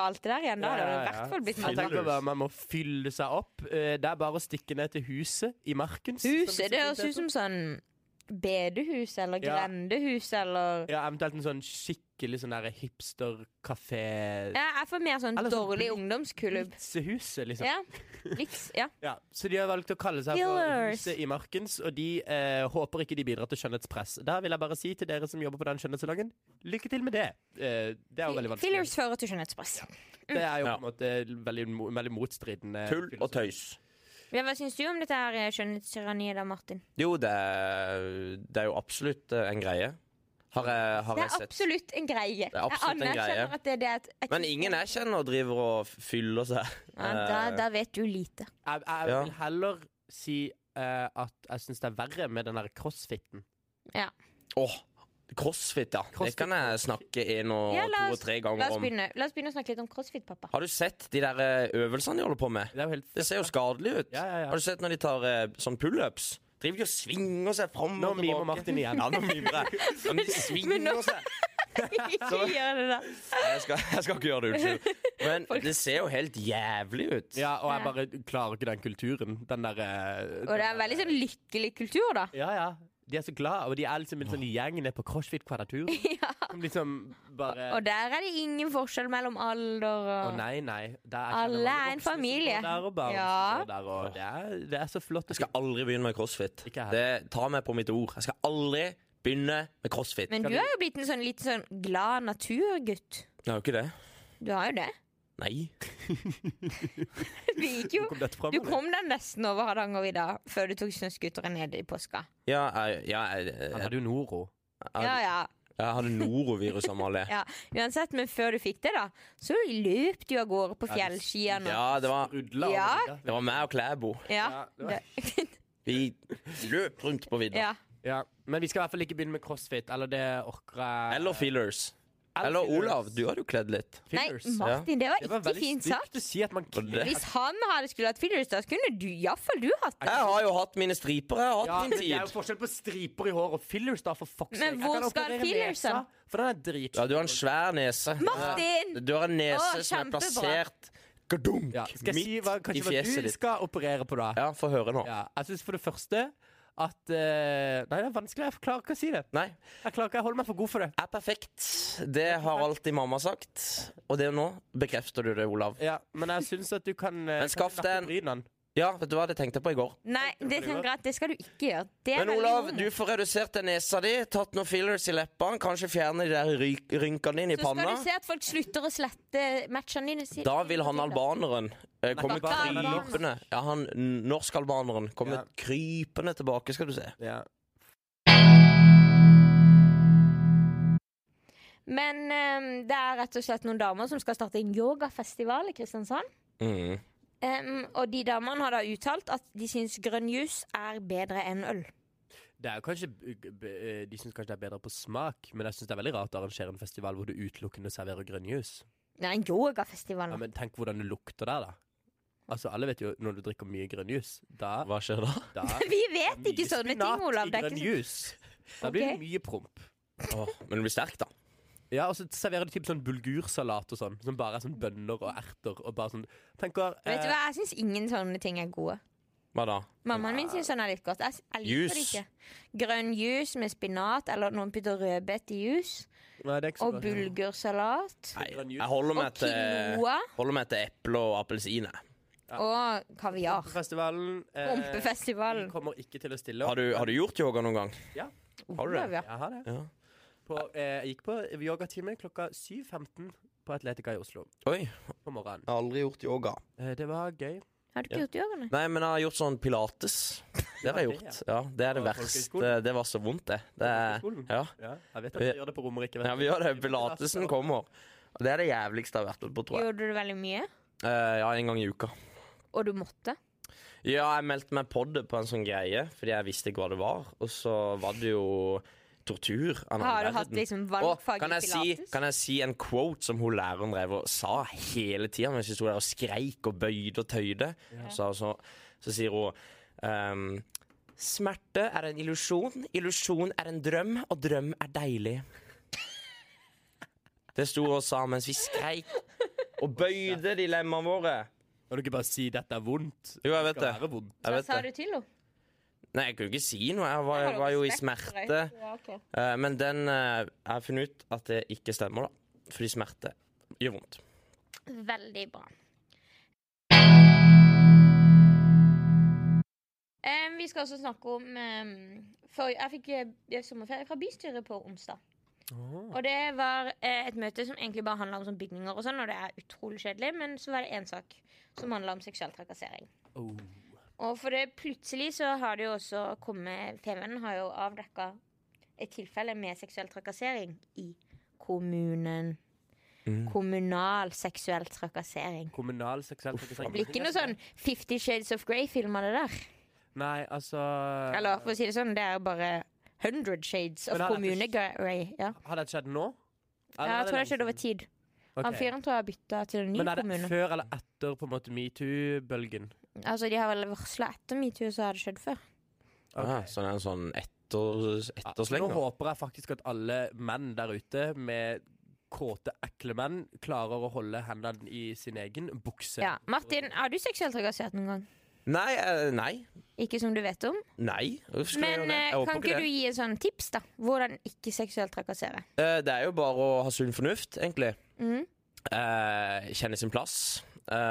Speaker 3: alt det der igjen.
Speaker 2: Ja,
Speaker 3: Da hadde det
Speaker 2: ja,
Speaker 3: i
Speaker 2: ja.
Speaker 3: hvert fall blitt
Speaker 2: Jeg
Speaker 3: mandag.
Speaker 2: tenker bare Man må fylle seg opp. Eh, Det er bare å stikke ned til huset i Markens. som så
Speaker 3: Huset, det
Speaker 2: fint
Speaker 3: høres ut
Speaker 2: heter.
Speaker 3: som sånn bedehus eller
Speaker 2: Ja.
Speaker 3: grendehus eller
Speaker 2: Ja, Eventuelt en sånn skikkelig sånn der hipsterkafé
Speaker 3: ja, Jeg får mer sånn
Speaker 2: Eller sånn
Speaker 3: dårlig
Speaker 2: bli-
Speaker 3: ungdomsklubb.
Speaker 2: Blitsehuset, liksom. Ja.
Speaker 3: Ja. Blitz, ja.
Speaker 2: Så de har valgt å kalle seg for
Speaker 3: Killers.
Speaker 2: Huset i Markens, og de eh, håper ikke de bidrar til skjønnhetspress. Da vil jeg bare si til dere som jobber på den skjønnhetssalongen, lykke til med det. Eh, det er jo veldig vanskelig.
Speaker 3: Fillers fører til skjønnhetspress.
Speaker 2: Det er jo
Speaker 1: Ja.
Speaker 2: på en måte veldig, mo- veldig motstridende.
Speaker 1: Tull og tøys.
Speaker 3: Ja, hva syns du om dette her eh, skjønnhetstyranniet da, Martin?
Speaker 1: Jo, det er, det er jo absolutt eh, en greie. Har jeg, har
Speaker 3: Det
Speaker 1: jeg
Speaker 3: er
Speaker 1: sett.
Speaker 3: absolutt en greie.
Speaker 1: er absolutt en
Speaker 3: jeg anerkjenner
Speaker 1: greie.
Speaker 3: at det, det er et, et
Speaker 1: Men ingen jeg kjenner driver og fyller seg.
Speaker 3: ja, da, da vet du lite.
Speaker 2: Jeg, jeg
Speaker 1: Ja.
Speaker 2: vil heller si eh, at jeg syns det er verre med den der crossfiten.
Speaker 1: Åh, crossfit, ja. Det
Speaker 2: Crossfit.
Speaker 1: kan jeg snakke en og
Speaker 3: Ja, la
Speaker 1: to
Speaker 3: oss-
Speaker 1: og tre
Speaker 3: La
Speaker 1: ganger
Speaker 3: oss
Speaker 1: om.
Speaker 3: begynne, la oss begynne å snakke litt om crossfit, pappa.
Speaker 1: Har du sett de der eh, øvelsene de holder på med?
Speaker 2: Det er jo helt
Speaker 1: Det ser jo skadelig ut.
Speaker 2: Ja, ja, ja.
Speaker 1: Har du sett når de tar eh, sånn pullups? Driver de og svinger seg fram
Speaker 2: Nå
Speaker 1: og
Speaker 2: mimer
Speaker 1: tilbake?
Speaker 2: Martin igjen.
Speaker 1: Ja, nå mimer jeg. Ja, Men de
Speaker 3: men
Speaker 1: svinger
Speaker 3: nå-
Speaker 1: seg.
Speaker 3: Ikke gjør det, da.
Speaker 1: Nei, Jeg skal, jeg skal ikke gjøre det, unnskyld. Men
Speaker 3: Folk-
Speaker 1: det ser jo helt jævlig ut.
Speaker 2: Ja, og jeg
Speaker 3: Ja.
Speaker 2: bare klarer ikke den kulturen. Den eh, derre
Speaker 3: Og det er en veldig sånn lykkelig kultur, da.
Speaker 2: Ja, ja. De er så glad, og de er liksom en sånn gjeng nede på crossfit-kvadratur.
Speaker 3: Ja.
Speaker 2: Som liksom bare
Speaker 3: Og der er det ingen forskjell mellom alder
Speaker 2: Å
Speaker 3: og
Speaker 2: nei, nei. Det er
Speaker 3: Alle
Speaker 2: mange
Speaker 3: er en
Speaker 2: voksne som
Speaker 3: familie.
Speaker 2: går Der, og barn
Speaker 3: Ja.
Speaker 2: som går der, og det, er, det er så flott.
Speaker 1: Jeg skal aldri begynne med crossfit.
Speaker 2: Ikke jeg.
Speaker 1: Det Ta meg på mitt ord. Jeg skal aldri begynne med crossfit.
Speaker 3: Men
Speaker 2: Skal
Speaker 3: du
Speaker 2: vi-
Speaker 3: har jo blitt en sånn litt sånn glad naturgutt.
Speaker 1: Det er jo ikke det.
Speaker 3: Du har jo det.
Speaker 1: Nei.
Speaker 3: Du gikk jo
Speaker 2: Hvor kom dette fra?
Speaker 3: Du
Speaker 2: Malin?
Speaker 3: kom deg nesten over Hardangervidda før du tok snøscooteren ned i påska.
Speaker 1: Ja, jeg, ja, jeg,
Speaker 2: Han
Speaker 1: jeg,
Speaker 2: hadde jo Noro.
Speaker 3: Ja,
Speaker 1: jeg,
Speaker 3: ja,
Speaker 1: jeg hadde norovirus, Amalie.
Speaker 3: ja. Uansett, men før du fikk det, da, så løp du av gårde på fjellskiene.
Speaker 1: Ja, det var,
Speaker 2: Rudla.
Speaker 3: Ja.
Speaker 1: det var meg og Klæbo.
Speaker 3: Ja.
Speaker 2: Ja, det var-
Speaker 3: Det-
Speaker 1: Vi løp rundt på vidda.
Speaker 3: ja.
Speaker 2: Ja. Men vi skal i hvert fall ikke begynne med crossfit, eller det orker jeg
Speaker 1: Eller feelers. Eller
Speaker 2: fillers.
Speaker 1: Olav, du hadde jo kledd litt.
Speaker 3: Nei,
Speaker 2: Fillers.
Speaker 3: Martin, det var
Speaker 2: Det var
Speaker 3: ikke
Speaker 2: veldig
Speaker 3: fint sagt.
Speaker 2: stygt å si at man
Speaker 1: Og det-
Speaker 3: Hvis han hadde skulle hatt fillers, da skulle du iallfall du hatt det.
Speaker 1: Jeg har jo hatt mine striper. Jeg har
Speaker 2: Ja,
Speaker 1: hatt
Speaker 2: men
Speaker 1: min
Speaker 2: det er jo
Speaker 1: tid.
Speaker 2: forskjell på striper i hår og fillers, da, for fuck's sake. Jeg
Speaker 3: Men hvor
Speaker 2: kan
Speaker 3: skal
Speaker 2: operere
Speaker 3: fillersen?
Speaker 2: nesa, For den er drit.
Speaker 1: Ja, du har en svær nese.
Speaker 3: Martin!
Speaker 1: Du har en nese
Speaker 3: Å,
Speaker 1: som er
Speaker 3: kjempebra.
Speaker 1: plassert gadunk,
Speaker 2: Ja, skal jeg
Speaker 1: midt
Speaker 2: si hva,
Speaker 1: i
Speaker 2: kanskje hva
Speaker 1: fjeset
Speaker 2: du
Speaker 1: ditt.
Speaker 2: skal operere på, da?
Speaker 1: Ja, få høre nå.
Speaker 2: Ja, jeg syns for det første at eh, Nei, det er vanskelig. Jeg klarer ikke å si det.
Speaker 1: Nei,
Speaker 2: Jeg klarer ikke, jeg holder meg for god for det.
Speaker 1: er perfekt. Det har alltid mamma sagt. Og det nå bekrefter du det, Olav.
Speaker 2: Ja, Men jeg syns at du kan eh, kanskje
Speaker 1: skaff deg
Speaker 2: nappe
Speaker 1: en-
Speaker 2: brynene.
Speaker 1: Ja, vet du hva det tenkte jeg på i går?
Speaker 3: Nei, det tenker jeg at det skal du ikke gjøre. Det er
Speaker 1: Men
Speaker 3: veldig
Speaker 1: Olav,
Speaker 3: homo.
Speaker 1: du får redusert den nesa di, tatt noen fillers i leppene, kanskje fjerne de der ryk- rynkene dine i
Speaker 3: Så skal
Speaker 1: panna.
Speaker 3: du se at folk slutter å slette matchene dine. sier
Speaker 1: Da
Speaker 3: de
Speaker 1: vil
Speaker 3: hele
Speaker 1: han
Speaker 3: tiden.
Speaker 1: albaneren eh, komme
Speaker 2: Albaneren.
Speaker 1: krypende. Ja, han n- norskalbaneren kommer
Speaker 2: Ja.
Speaker 1: krypende tilbake, skal du se.
Speaker 2: Ja.
Speaker 3: Men ehm, det er rett og slett noen damer som skal starte en yogafestival i Kristiansand.
Speaker 1: Mm.
Speaker 3: Ehm, og de damene har da uttalt at de syns grønn jus er bedre enn øl.
Speaker 2: Det er jo kanskje, b- b- eh, de syns kanskje det er bedre på smak, men jeg syns det er veldig rart å arrangere en festival hvor du utelukkende serverer grønnjus.
Speaker 3: Nei, en yogafestival.
Speaker 2: Ja, men tenk hvordan det lukter der, da. Altså, Alle vet jo når du drikker mye grønnjus. Da,
Speaker 1: Hva skjer da?
Speaker 2: da
Speaker 3: Vi vet ikke sånne ting, Olav. Det er ikke...
Speaker 2: grønnjus. Da blir
Speaker 3: Ok.
Speaker 2: det mye promp.
Speaker 1: Åh, men du blir sterk, da.
Speaker 2: Ja, og så serverer de typ sånn bulgursalat og sånn, som bare er sånn bønner og erter og bare sånn Tenker
Speaker 3: Vet du
Speaker 2: eh,
Speaker 3: hva, jeg syns ingen sånne ting er gode.
Speaker 1: Hva da?
Speaker 3: Mammaen min syns sånn er litt godt. Jeg, s- jeg liker det
Speaker 1: Jus.
Speaker 3: ikke. Grønn jus med spinat, eller noen putter rødbet i jus.
Speaker 2: Nei, det er ikke så
Speaker 3: Og
Speaker 2: godt.
Speaker 3: bulgursalat.
Speaker 1: Nei,
Speaker 2: Grønn jus.
Speaker 1: jeg holder meg
Speaker 3: Og
Speaker 1: til,
Speaker 3: quinoa.
Speaker 1: holder meg til eple og appelsin. jeg.
Speaker 3: Og kaviar.
Speaker 2: Pumpefestivalen. eh,
Speaker 3: Rumpefestivalen.
Speaker 2: vi kommer ikke til å stille
Speaker 1: Har du, har du gjort yoga noen gang? du det?
Speaker 3: Olav, ja.
Speaker 2: Jeg har det.
Speaker 1: Ja.
Speaker 2: På, eh, jeg gikk på yogatime klokka 7.15 på Atletica i Oslo
Speaker 1: Oi, jeg
Speaker 2: på morgenen.
Speaker 1: har aldri gjort yoga.
Speaker 2: Eh, det var gøy.
Speaker 3: Har du ikke gjort yoga, nei?
Speaker 1: Nei, men jeg har gjort sånn pilates. Det har jeg
Speaker 2: Ja, det,
Speaker 1: gjort. Ja, Det er det
Speaker 2: På
Speaker 1: verste.
Speaker 2: folkehøyskolen?
Speaker 1: Det var så vondt, det. det er,
Speaker 2: Folkehøyskolen?
Speaker 1: ja.
Speaker 2: Ja, jeg vet at vi
Speaker 1: Vi-
Speaker 2: gjør det på Romerike. vet
Speaker 1: Eh, ja,
Speaker 2: du.
Speaker 1: vi gjør det. Pilatesen kommer. Og Det er det jævligste jeg har vært med på, tror jeg.
Speaker 3: Gjorde du det veldig mye?
Speaker 1: Eh, ja, en gang i uka.
Speaker 3: Og du måtte?
Speaker 1: Ja, jeg meldte meg på det på en sånn greie, fordi jeg visste ikke hva det var. Og så var det jo tortur. av en
Speaker 3: Har du
Speaker 1: annen
Speaker 3: hatt
Speaker 1: verden.
Speaker 3: liksom
Speaker 1: Og
Speaker 3: valgfag
Speaker 1: kan
Speaker 3: i
Speaker 1: jeg, si,
Speaker 3: pilates?
Speaker 1: kan jeg si en quote som hun læreren drev og sa hele tida mens vi sto der og skreik og bøyde og tøyde? Så, så, så sier hun ehm, Smerte er en illusjon, illusjon er en drøm, og drøm er deilig. Det sto hun og sa mens vi skreik og bøyde dilemmaene våre.
Speaker 2: Kan du ikke bare si 'dette er vondt'?
Speaker 1: Jo, jeg
Speaker 2: Det
Speaker 1: vet
Speaker 2: skal
Speaker 1: det.
Speaker 2: være vondt.
Speaker 1: Jeg
Speaker 3: Hva
Speaker 1: vet
Speaker 3: sa
Speaker 1: det.
Speaker 3: du til henne?
Speaker 1: Nei, jeg kunne ikke si noe. Jeg var, jeg var jo i smerte.
Speaker 3: Ja, ok.
Speaker 1: Eh, Men den eh, Jeg har funnet ut at det ikke stemmer, da. Fordi smerte gjør vondt.
Speaker 3: Veldig bra. Em, vi skal også snakke om em, for Jeg fikk eh, sommerferie fra bystyret på onsdag. Og det var eh, et møte som egentlig bare handla om sånn bygninger og sånn, og det er utrolig kjedelig, men så var det én sak som handla om seksuell trakassering.
Speaker 2: Oh.
Speaker 3: Og for det plutselig så har det jo også kommet Femund har jo avdekka et tilfelle med seksuell trakassering i kommunen.
Speaker 2: Mm.
Speaker 3: Kommunal seksuell trakassering.
Speaker 2: Kommunal seksuell
Speaker 3: Det blir ikke noe
Speaker 2: trakassering.
Speaker 3: sånn Fifty Shades of Grey-film av det der.
Speaker 2: Nei, altså
Speaker 3: Eller for å si det sånn, det er bare Hundred Shades of
Speaker 2: Men han er
Speaker 3: Kommune
Speaker 2: ikke-
Speaker 3: Grey. Ja.
Speaker 2: Har det skjedd nå?
Speaker 3: Ja, jeg tror det
Speaker 2: har
Speaker 3: har skjedd over tid. Han fyren tror jeg har bytta til en ny
Speaker 2: Men er det
Speaker 3: kommune.
Speaker 2: før eller etter på en måte metoo-bølgen?
Speaker 3: Altså, De har vel varsla etter metoo, så har det skjedd før.
Speaker 2: Ok.
Speaker 1: Ah, så det er en sånn etter,
Speaker 2: Nå
Speaker 1: etterslenger?
Speaker 2: håper jeg faktisk at alle menn der ute med kåte, ekle menn klarer å holde hendene i sin egen bukse.
Speaker 3: Ja. Martin, har du seksuelt trakassert noen gang?
Speaker 1: Nei, eh, nei.
Speaker 3: Ikke som du vet om?
Speaker 1: Nei. Hvorfor skulle jeg
Speaker 3: Men
Speaker 1: gjøre det?
Speaker 3: eh,
Speaker 1: Jeg håper
Speaker 3: kan ikke du
Speaker 1: det.
Speaker 3: gi en sånn tips, da? Hvordan ikke seksuelt trakassere?
Speaker 1: Eh, Det er jo bare å ha sunn fornuft, egentlig.
Speaker 3: Mhm.
Speaker 1: Eh, kjenne sin plass.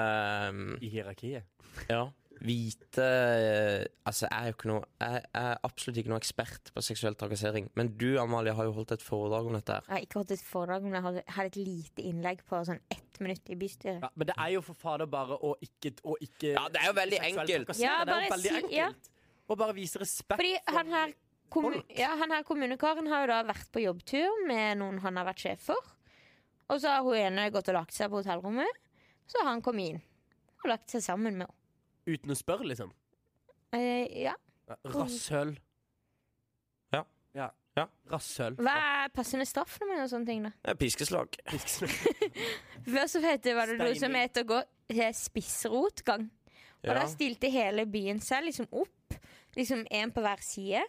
Speaker 1: Eh,
Speaker 2: I hierarkiet.
Speaker 1: ja. Vite eh, Altså, jeg er jo ikke noe Jeg er absolutt ikke noe ekspert på seksuell trakassering. Men du, Amalie, har jo holdt et foredrag om dette her.
Speaker 3: Jeg har ikke hatt et foredrag, men jeg hadde, hadde et lite innlegg på sånn ett minutt i bystyret.
Speaker 2: Ja, men det er jo for fader bare å ikke, å ikke
Speaker 1: Ja, det er jo veldig
Speaker 2: seksuelt
Speaker 1: enkelt.
Speaker 2: trakassere. det
Speaker 3: Ja,
Speaker 2: er
Speaker 3: bare
Speaker 2: jo veldig
Speaker 3: si- ja.
Speaker 2: enkelt. Og bare vise respekt.
Speaker 3: Fordi
Speaker 2: for-
Speaker 3: han her, kommu
Speaker 2: folk.
Speaker 3: ja, han her kommunekaren har jo da vært på jobbtur med noen han har vært sjef for. Og så har hun ene gått og lagt seg på hotellrommet. Så har han kommet inn og lagt seg sammen med henne.
Speaker 2: Uten å spørre, liksom.
Speaker 3: Eh, ja.
Speaker 2: Rasshøl. Rasshøl.
Speaker 3: Hva er passende straff når man gjør sånne ting, da?
Speaker 1: Eh, Piskeslag.
Speaker 3: Før så het det, var det noe som
Speaker 2: Steining.
Speaker 3: het å gå til spissrotgang. Og
Speaker 1: Ja.
Speaker 3: da stilte hele byen seg liksom opp, liksom én på hver side,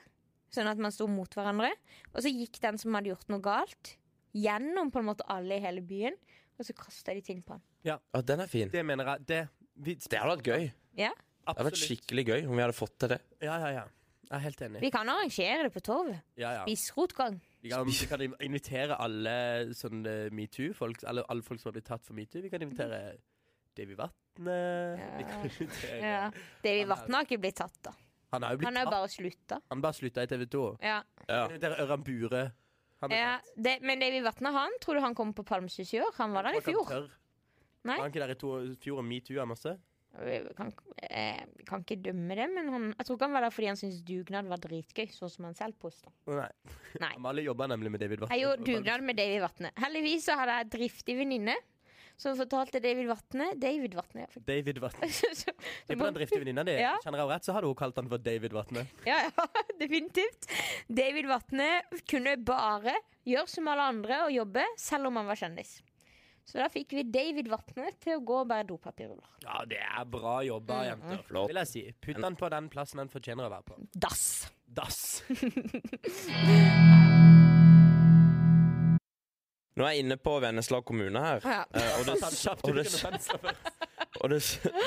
Speaker 3: sånn at man sto mot hverandre. Og så gikk den som hadde gjort noe galt, gjennom på en måte alle i hele byen, og så kasta de ting på han.
Speaker 1: Ja, den er fin.
Speaker 2: Det mener jeg. Det, vi,
Speaker 1: Det hadde vært gøy.
Speaker 3: Ja.
Speaker 1: Det hadde vært skikkelig gøy om vi hadde fått til det.
Speaker 2: Ja, ja, ja. Jeg er helt enig.
Speaker 3: Vi kan arrangere det på torvet.
Speaker 2: Ja, ja.
Speaker 3: Spissrotgang.
Speaker 2: Vi kan, vi kan invitere alle sånne metoo-folk, eller alle folk som har blitt tatt for metoo. Vi kan invitere Davy Vatne. Vi kan invitere
Speaker 3: Ja. David Vatne har ikke blitt tatt, da.
Speaker 2: Han har jo blitt
Speaker 3: Han har jo
Speaker 2: tatt.
Speaker 3: bare slutta.
Speaker 2: Han bare slutta i TV 2.
Speaker 3: Ja.
Speaker 1: Ja.
Speaker 2: Invitere Ørjan Bure. Han
Speaker 3: Ja, det, men David Vatne, han tror du han kommer på Palmesus i år? Han var der i fjor. Nei.
Speaker 2: Var han ikke der i to, fjor og metoo-a masse?
Speaker 3: Vi kan, eh, vi kan ikke dømme det, men han, jeg tror ikke han var der fordi han syntes dugnad var dritgøy, sånn som han selv posta.
Speaker 2: Å, Nei.
Speaker 3: Nei.
Speaker 2: Amalie jobba nemlig med David Vatne.
Speaker 3: Jeg gjorde dugnad med David Vatne. Heldigvis så hadde jeg en driftig venninne som fortalte David Vatne David Vatne, ja.
Speaker 2: David Vatne.
Speaker 3: Så- så-
Speaker 2: Det er på den driftige venninna di.
Speaker 3: Ja.
Speaker 2: Kjenner jeg henne rett, så hadde hun kalt han for David Vatne.
Speaker 3: Ja, ja, definitivt. David Vatne kunne bare gjøre som alle andre og jobbe, selv om han var kjendis. Så da fikk vi David Vatne til å gå og bære dopapirruller.
Speaker 2: Ja, det er bra jobba,
Speaker 3: Mm,
Speaker 2: jenter.
Speaker 1: Flott.
Speaker 2: Vil jeg si. Putt han på den plassen han fortjener å være på.
Speaker 3: Dass!
Speaker 2: Dass.
Speaker 1: Nå er jeg inne på Vennesla kommune her.
Speaker 3: Ja.
Speaker 1: eh, Og det,
Speaker 2: Han kjapt
Speaker 1: og det,
Speaker 2: uten å pensle først.
Speaker 1: og det,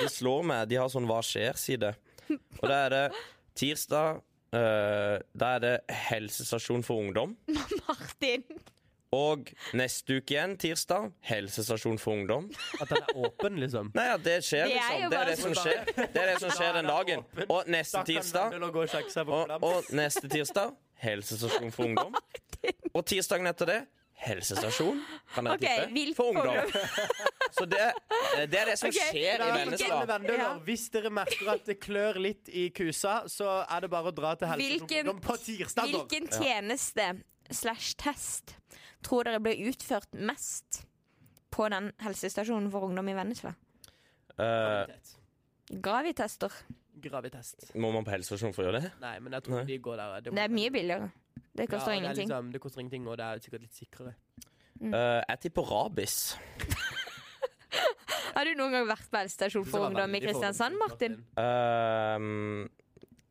Speaker 1: det slår meg. De har sånn Hva skjer-side. Og da er det tirsdag. eh, da er det helsestasjon for ungdom.
Speaker 3: Martin!
Speaker 1: Og neste uke igjen, tirsdag, helsestasjon for ungdom.
Speaker 2: At han er åpen, liksom.
Speaker 1: Nei, ja, det skjer,
Speaker 3: Det er
Speaker 1: liksom.
Speaker 3: jo
Speaker 1: Det
Speaker 3: bare
Speaker 1: er
Speaker 3: sånn.
Speaker 1: det som skjer. Det er det som skjer den dagen. Og neste tirsdag
Speaker 2: Da kan Mandel gå og sjekke seg på
Speaker 1: Og,
Speaker 2: program.
Speaker 1: og neste tirsdag helsestasjon for ungdom. Og tirsdagen etter det helsestasjon kan dere
Speaker 3: Ok,
Speaker 1: tippe,
Speaker 3: vilt
Speaker 1: for ungdom. Så det, det er det som
Speaker 3: Ok,
Speaker 1: skjer
Speaker 2: Da
Speaker 1: i
Speaker 2: er det sånn,
Speaker 1: Vennesla.
Speaker 2: Vandel,
Speaker 3: Ja.
Speaker 2: Hvis dere merker at det klør litt i kusa, så er det bare å dra til
Speaker 3: Hvilken-
Speaker 2: helsestasjonen på tirsdager.
Speaker 3: Hvilken tjeneste slash test tror dere ble utført mest på den helsestasjonen for ungdom i Vennesla?
Speaker 1: Eh,
Speaker 2: Gravitet.
Speaker 3: Gravitester.
Speaker 2: Gravitest.
Speaker 1: må man på helsestasjon for å gjøre det?
Speaker 2: Nei, men jeg tror
Speaker 1: Nei.
Speaker 2: de går der. må-
Speaker 3: Det er mye billigere. Det
Speaker 2: Ja,
Speaker 3: koster
Speaker 2: det er
Speaker 3: ingenting.
Speaker 2: Liksom, det koster ingenting, og det er sikkert litt sikrere.
Speaker 3: Mm.
Speaker 1: Eh, jeg tipper rabies.
Speaker 3: Har du noen gang vært på helsestasjon for ungdom i Kristiansand, Martin?
Speaker 1: Ehm,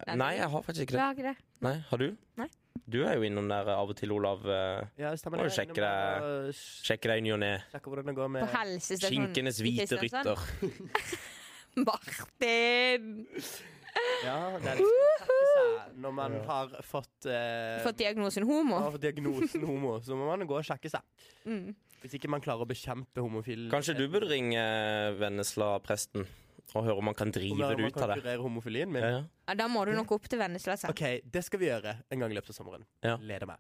Speaker 1: Eh, nei, jeg har faktisk
Speaker 3: Du
Speaker 1: ikke det.
Speaker 3: har ikke det?
Speaker 1: Nei, Har du?
Speaker 3: Nei.
Speaker 1: Du er jo innom der av og til, Olav. eh,
Speaker 2: Ja, stemmer
Speaker 1: Må
Speaker 2: det.
Speaker 1: jo sjekke
Speaker 2: Innom
Speaker 1: det.
Speaker 2: og sj-
Speaker 1: Sjekke deg i ny og ne.
Speaker 2: Sjekke hvordan det går
Speaker 3: På
Speaker 2: med
Speaker 3: helsestasjonen
Speaker 1: Skinkenes
Speaker 3: sånn i
Speaker 1: hvite
Speaker 3: Kristiansand?
Speaker 1: rytter.
Speaker 3: Martin!
Speaker 2: Ja, det er liksom å sjekke seg når man har fått eh,
Speaker 3: Fått diagnosen homo? Mm.
Speaker 2: av diagnosen homo, så må man gå og sjekke seg. Hvis ikke man klarer å bekjempe homofil
Speaker 1: Kanskje du burde ringe eh, Vennesla-presten og høre om han kan
Speaker 2: Om
Speaker 1: drive
Speaker 2: man
Speaker 1: det ut av
Speaker 2: kan
Speaker 1: det.
Speaker 2: kurere homofilien min?
Speaker 1: Ja, ja.
Speaker 3: Ja, da må du nok opp til Vennesla. sa jeg.
Speaker 2: OK, det skal vi gjøre en gang i løpet av sommeren.
Speaker 1: Ja.
Speaker 2: Leder meg.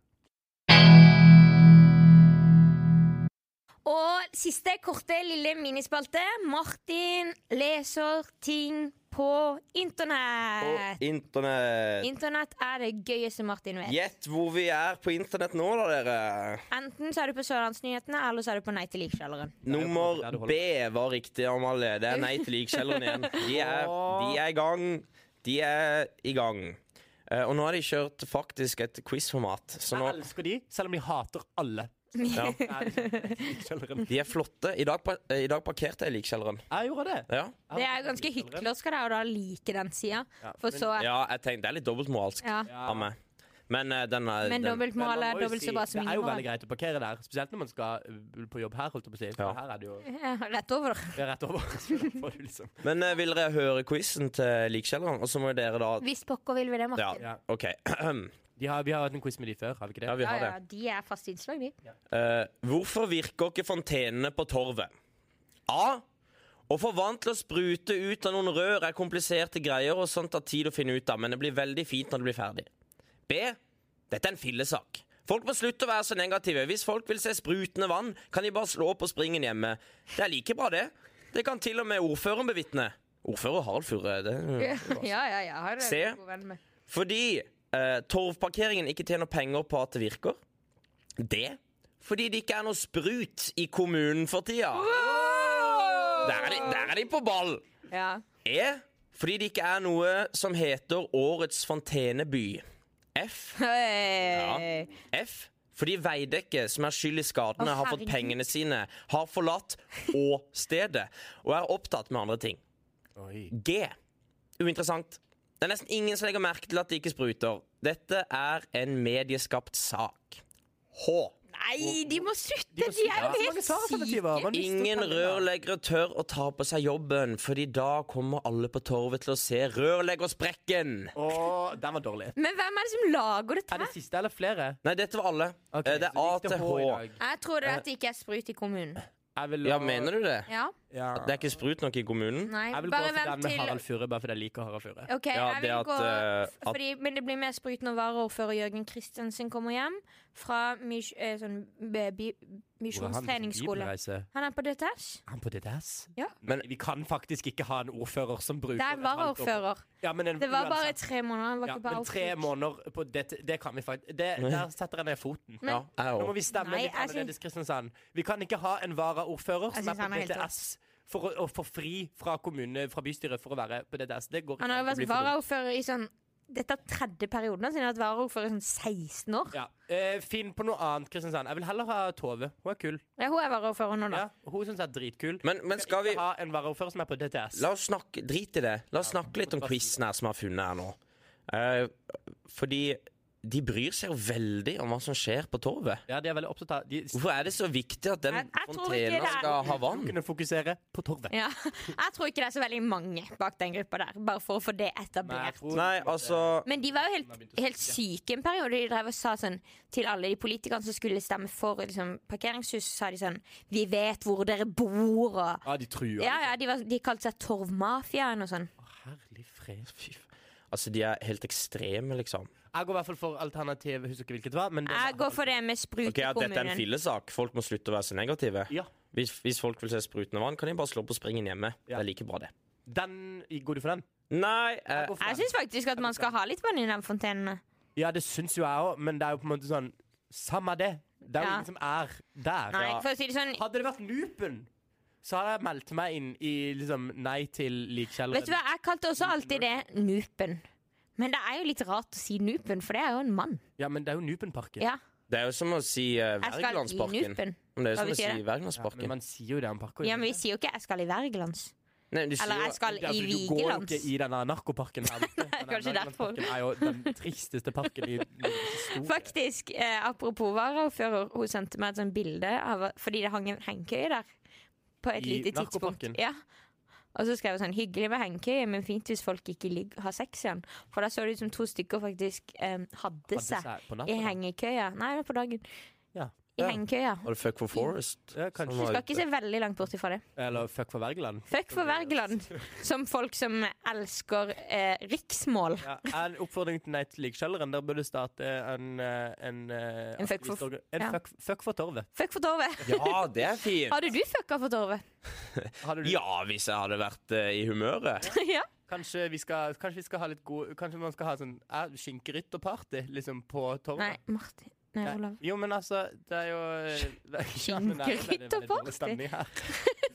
Speaker 3: Og siste korte lille minispalte. Martin leser ting på internett.
Speaker 1: Og internett.
Speaker 3: Internett er det gøyeste Martin vet.
Speaker 1: Gjett hvor vi er på internett nå, da, dere.
Speaker 3: Enten så er du på Sørlandsnyhetene, eller så er du på Nei til likkjelleren.
Speaker 1: Nummer
Speaker 2: Der du holder.
Speaker 1: B var riktig, Amalie. Det er Nei til likkjelleren igjen. De er, de er i gang. De er i gang. Eh, og nå har de kjørt faktisk et quizformat, så nå
Speaker 2: Jeg elsker de, selv om de hater alle.
Speaker 1: ja,
Speaker 2: Jeg likkjelleren.
Speaker 1: De er flotte. I dag, pa- eh, i dag parkerte jeg i likkjelleren.
Speaker 2: Jeg gjorde det.
Speaker 1: Ja.
Speaker 3: Det er ganske hyklersk av deg å da like den sida,
Speaker 2: Ja,
Speaker 3: for
Speaker 2: men-
Speaker 3: så
Speaker 1: ja, jeg tenkte det er litt dobbeltmoralsk
Speaker 3: Ja.
Speaker 1: av meg. Men eh, den er den-
Speaker 3: Men
Speaker 2: Men man
Speaker 3: dobbeltmoral
Speaker 2: må
Speaker 3: er
Speaker 2: jo
Speaker 3: dobbelt
Speaker 2: si,
Speaker 3: så bra som
Speaker 2: Det er jo veldig
Speaker 3: ingen
Speaker 2: greit å parkere der, spesielt når man skal uh, på jobb her. holdt jeg på å si For
Speaker 1: Ja.
Speaker 2: Her er det jo
Speaker 3: Ja, Rett over.
Speaker 2: det er rett over. Så da får du liksom
Speaker 1: Men eh, vil dere høre quizen til likkjelleren? Og så må dere da
Speaker 3: Hvis pokker vil vi det,
Speaker 1: Ja,
Speaker 3: Martin.
Speaker 2: Ja.
Speaker 1: OK. Ja,
Speaker 2: de har, Vi har hatt en quiz med de før, har vi ikke det?
Speaker 1: vi har det.
Speaker 3: De er fast innslag, de.
Speaker 1: Eh, hvorfor virker ikke fontenene på torvet? A. Å få vann til å sprute ut av noen rør er kompliserte greier og sånt tar tid å finne ut av, men det blir veldig fint når det blir ferdig. B. Dette er en fillesak. Folk må slutte å være så negative. Hvis folk vil se sprutende vann, kan de bare slå opp på springen hjemme. Det er like bra, det. Det kan til og med ordføreren bevitne. Ordfører Harald Furre, det
Speaker 3: Ja, ja, ja. Har du
Speaker 1: Se.
Speaker 3: god venn med.
Speaker 1: fordi eh, torvparkeringen ikke tjener penger på at det virker. Det fordi det ikke er noe sprut i kommunen for tida. Der er de, der er de på ball!
Speaker 3: Ja.
Speaker 1: E fordi det ikke er noe som heter Årets fonteneby. F.
Speaker 3: Hei.
Speaker 1: F. Fordi Veidekke, som er skyld i skadene,
Speaker 3: Å,
Speaker 1: har fått
Speaker 3: herregud.
Speaker 1: pengene sine, har forlatt og stedet, og er opptatt med andre ting.
Speaker 2: Oi.
Speaker 1: G. Uinteressant. Det er nesten ingen som legger merke til at det ikke spruter. Dette er en medieskapt sak. H.
Speaker 3: Nei, de må slutte!
Speaker 2: De
Speaker 3: De,
Speaker 2: må slutte.
Speaker 3: er
Speaker 2: Ja, så
Speaker 3: jo
Speaker 2: mange
Speaker 3: helt
Speaker 2: svaralternativer. Man
Speaker 3: syke.
Speaker 2: mister
Speaker 1: Ingen
Speaker 2: tellingen.
Speaker 1: rørleggere tør å ta på seg jobben, fordi da kommer alle på torvet til å se rørleggersprekken.
Speaker 2: Åh, den var dårlig.
Speaker 3: Men hvem er det som lager dette?
Speaker 2: Er det
Speaker 3: her?
Speaker 2: siste eller flere?
Speaker 1: Nei, dette var alle.
Speaker 2: Ok,
Speaker 1: Eh, det er A
Speaker 2: så gikk
Speaker 1: til
Speaker 2: i
Speaker 1: H.
Speaker 2: dag.
Speaker 3: Jeg tror det er at det ikke er sprut i kommunen.
Speaker 2: Jeg vil
Speaker 1: Ja, mener du det?
Speaker 3: Ja,
Speaker 2: Ja.
Speaker 1: Det er ikke sprut nok i kommunen?
Speaker 3: nei
Speaker 2: Jeg vil gå
Speaker 3: Bare
Speaker 2: til den
Speaker 3: vent
Speaker 2: med
Speaker 3: til
Speaker 2: Harald Furre, bare fordi jeg liker Harald Furre.
Speaker 3: Ok,
Speaker 1: Ja,
Speaker 3: jeg
Speaker 1: det
Speaker 3: vil
Speaker 1: at,
Speaker 3: gå
Speaker 1: eh,
Speaker 3: f- fordi, Men det blir mer sprut når varaordfører Jørgen Kristiansen kommer hjem fra mis, eh, sånn, eh, bi- misjonstreningsskole. Han er på DTS.
Speaker 2: Han på DDS?
Speaker 3: Ja.
Speaker 2: Men vi kan faktisk ikke ha en ordfører som bruker
Speaker 3: Det er
Speaker 2: et halvt år på-
Speaker 3: varaordfører.
Speaker 2: Ja, men en,
Speaker 3: Det var bare
Speaker 2: uansett.
Speaker 3: tre måneder. Han var
Speaker 2: ja,
Speaker 3: ikke på
Speaker 2: men tre
Speaker 3: outreach.
Speaker 2: måneder på det, det kan vi faktisk det, Der setter jeg ned foten.
Speaker 1: Ja, jeg
Speaker 2: Nå må
Speaker 1: òg.
Speaker 2: vi stemme
Speaker 3: Nei,
Speaker 2: litt
Speaker 3: jeg syns-
Speaker 2: annerledes, Kristiansand. Vi kan ikke ha en varaordfører
Speaker 3: Jeg
Speaker 2: som er
Speaker 3: syns han
Speaker 2: på
Speaker 3: er helt
Speaker 2: DTS for å, å få fri fra kommune, fra bystyret for å være på DTS. Det går
Speaker 3: Han har jo
Speaker 2: an. Det
Speaker 3: vært
Speaker 2: blir for dumt.
Speaker 3: varaordfører i sånn Dette er tredje perioden hans. Han har vært varaordfører i sånn 16 år.
Speaker 2: Ja. Eh, finn på noe annet, Kristiansand. Jeg vil heller ha Tove. Hun er kul.
Speaker 3: Ja, hun er varaordfører nå, da.
Speaker 2: Ja, hun syns jeg er dritkul.
Speaker 1: Men, men skal vi
Speaker 2: Ikke ha en varaordfører som er på DTS.
Speaker 1: La oss snakke, Drit i det. La oss snakke litt om quizen her som vi har funnet her nå. Eh, fordi de bryr seg jo veldig om hva som skjer på torvet.
Speaker 2: Ja, de er veldig opptatt av De
Speaker 1: Hvorfor er det så viktig at den
Speaker 3: Jeg- jeg tror ikke det
Speaker 1: fontena
Speaker 3: er-
Speaker 1: skal ha vann?
Speaker 2: kunne fokusere på torvet.
Speaker 3: Ja. Jeg tror ikke det er så veldig mange bak den gruppa der, bare for å få det etablert.
Speaker 1: Nei, altså
Speaker 3: Men de var jo helt, helt syke en periode. De drev og sa sånn til alle de politikerne som skulle stemme for liksom, parkeringshus, sa de sånn Vi vet hvor dere bor, og
Speaker 2: Ja, de truer.
Speaker 3: Ja, ja, de, var, de kalte seg Torvmafiaen og sånn.
Speaker 2: Herlig fred.
Speaker 1: fy, f- Altså, de er helt ekstreme, liksom.
Speaker 2: Jeg går i hvert fall for alternativ. Husker ikke hvilket det var. Men det sånn-
Speaker 3: Jeg går for det med sprut
Speaker 1: Ok,
Speaker 3: i
Speaker 1: at Dette er en
Speaker 3: kommunen.
Speaker 1: fillesak. Folk må slutte å være så negative.
Speaker 2: Ja.
Speaker 1: Hvis, hvis folk vil se sprutende vann, kan de bare slå på springen hjemme. Det er like bra, det.
Speaker 2: Den Går du for den?
Speaker 1: Nei, eh,
Speaker 2: Jeg går for
Speaker 3: Jeg
Speaker 2: den.
Speaker 3: syns faktisk at man skal ha litt vann i den fontenen.
Speaker 2: Ja, det syns jo jeg òg, men det er jo på en måte sånn Samme det. Det er jo
Speaker 3: Ja.
Speaker 2: ingen som er der.
Speaker 3: Nei,
Speaker 1: Ja.
Speaker 3: for å si det sånn
Speaker 2: Hadde det vært Loopen, så hadde jeg meldt meg inn i liksom Nei til likkjelleren.
Speaker 3: Vet du hva, jeg kalte også alltid det Nupen. Men det er jo litt rart å si Nupen, for det er jo en mann.
Speaker 2: Ja, men det er jo Nupenparken.
Speaker 3: Ja,
Speaker 1: det er jo som å si uh,
Speaker 3: jeg skal i
Speaker 1: Wergelandsparken. Men
Speaker 3: Nupen.
Speaker 1: Det er
Speaker 3: Hva
Speaker 1: jo som å
Speaker 3: betyr
Speaker 1: si
Speaker 3: det?
Speaker 2: Ja, men
Speaker 1: Wergelandsparken.
Speaker 2: man sier jo det om parker.
Speaker 3: Ja, men vi sier jo ikke 'jeg skal i Wergelands'.
Speaker 1: Nei, du sier
Speaker 3: Eller
Speaker 1: jo-
Speaker 3: 'jeg skal
Speaker 2: Det er
Speaker 3: i
Speaker 2: fordi altså, Du går jo
Speaker 3: Vigelands'.
Speaker 2: ikke i denne narkoparken her. borte. Den
Speaker 3: kanskje
Speaker 2: Wergelandsparken er jo den tristeste parken i Norges historie.
Speaker 3: Faktisk, eh, apropos varaordfører, hun sendte meg et sånt bilde av, fordi det hang en hengekøye der. På et
Speaker 2: I
Speaker 3: lite tidspunkt.
Speaker 2: narkoparken?
Speaker 3: Ja. Og så skrev hun sånn 'hyggelig med hengekøye, men fint hvis folk ikke ligger, har sex igjen'. For da så det ut som to stykker faktisk eh, hadde
Speaker 2: seg
Speaker 3: seg
Speaker 2: på natten,
Speaker 3: i
Speaker 2: da.
Speaker 3: hengekøya. Nei, det var på dagen.
Speaker 2: Ja.
Speaker 3: I
Speaker 1: Ja.
Speaker 3: hengekøya.
Speaker 1: Var det Fuck for Forest?
Speaker 2: Ja, kanskje.
Speaker 1: Som
Speaker 3: Du
Speaker 1: var
Speaker 3: skal
Speaker 1: ute?
Speaker 3: ikke se veldig langt bort ifra det.
Speaker 2: Eller fuck for Wergeland.
Speaker 3: Fuck for Wergeland, som folk som elsker eh, riksmål.
Speaker 2: Ja, en oppfordring til Nei til likkjelleren. Der bør du starte en eh, En, eh,
Speaker 3: En fuck for-
Speaker 2: aktivistorgan- en
Speaker 3: ja.
Speaker 2: fuck, fuck for torvet.
Speaker 3: Fuck for Torvet.
Speaker 1: Ja, det er fint!
Speaker 3: Hadde du fucka for Torvet?
Speaker 2: Hadde du,
Speaker 1: Ja, hvis jeg hadde vært eh, i humøret.
Speaker 3: ja.
Speaker 2: kanskje, vi skal, kanskje vi skal ha litt god Kanskje man skal ha sånn eh, skinkerytterparty liksom, på
Speaker 3: Nei,
Speaker 2: torvet?
Speaker 3: Martin. Nei,
Speaker 2: Ja.
Speaker 3: Olav.
Speaker 2: Jo, men altså, det er jo Ja, men det er- det er veldig dårlig
Speaker 3: Skinkerytterparty?
Speaker 2: stemning her.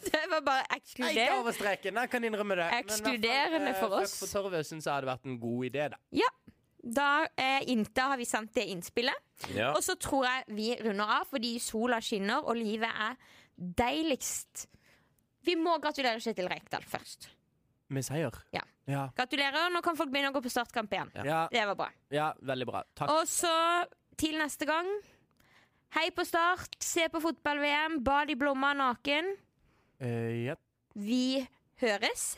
Speaker 3: Det var bare
Speaker 2: Nei, ikke
Speaker 3: ekskluderende.
Speaker 2: over streken. Jeg kan innrømme det. Men i hvert fall,
Speaker 3: Ekskluderende
Speaker 2: eh,
Speaker 3: for
Speaker 2: fuck
Speaker 3: oss.
Speaker 2: for torvet syns jeg hadde vært en god idé, da.
Speaker 3: Ja. Da, eh, inn- da har vi sendt det innspillet.
Speaker 1: Ja.
Speaker 3: Og så tror jeg vi runder av, fordi sola skinner, og livet er deiligst. Vi må gratulere Kjetil Rekdal først.
Speaker 2: Med seier.
Speaker 3: Ja.
Speaker 2: Ja.
Speaker 3: Gratulerer. Nå kan folk begynne å gå på startkamp igjen.
Speaker 2: Ja,
Speaker 3: Det var bra.
Speaker 2: ja, veldig bra. Takk.
Speaker 3: Og så til neste gang. Hei på start. Se på fotball-VM. Bad i blomma naken.
Speaker 2: Eh, ja.
Speaker 3: Vi høres.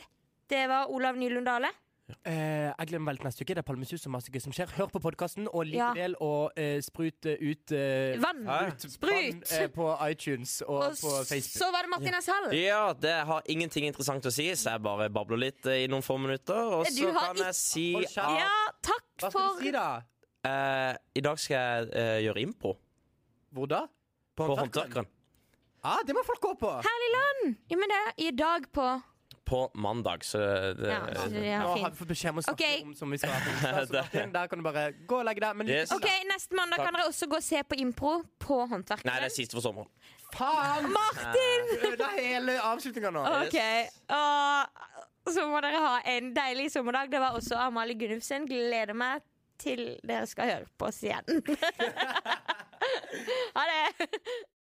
Speaker 3: Det var Olav Nylund Dale.
Speaker 2: Eh, jeg glemmer veldig neste uke. Det er Palmesus og masse gøy som skjer. Hør på podkasten, og lik
Speaker 3: Ja.
Speaker 2: del og eh, sprut eh, ut eh,
Speaker 3: Vann.
Speaker 1: Hæ?
Speaker 3: Sprut.
Speaker 2: vann, eh, på iTunes og,
Speaker 3: Og
Speaker 2: på Facebook.
Speaker 3: så var det Martin S. Hall.
Speaker 1: Ja, det har ingenting interessant å si, så jeg bare babler litt eh, i noen få minutter. Og
Speaker 3: Du
Speaker 1: så
Speaker 3: har
Speaker 1: kan
Speaker 3: ikke-
Speaker 1: jeg si
Speaker 2: Hold
Speaker 1: at
Speaker 2: kjeft.
Speaker 3: Ja, takk
Speaker 2: Hva skal
Speaker 3: for
Speaker 2: du si, da?
Speaker 1: eh, i dag skal jeg eh, gjøre impro
Speaker 2: Hvor da?
Speaker 1: på Håndverkeren.
Speaker 2: Ja, det må folk gå på!
Speaker 3: Herlig land! Ja, men det er i dag på
Speaker 1: På mandag, så eh, det,
Speaker 3: Ja, altså- så det
Speaker 2: Nå
Speaker 3: er
Speaker 2: har vi
Speaker 3: fint.
Speaker 2: fått beskjed om å snakke
Speaker 3: Ok.
Speaker 2: om som vi skal ha på onsdag, så Martin, Der kan du bare gå og legge deg. Men
Speaker 1: Yes.
Speaker 3: OK, neste mandag kan dere også gå og se på impro på
Speaker 1: Nei, det er
Speaker 3: Håndverkeren.
Speaker 1: siste for sommeren.
Speaker 2: faen!
Speaker 3: Martin!
Speaker 2: Du ødela hele avslutninga nå.
Speaker 3: OK. Og så må dere ha en deilig sommerdag. Det var også Amalie Gunnufsen. Gleder meg til dere skal høre på oss igjen. ha det!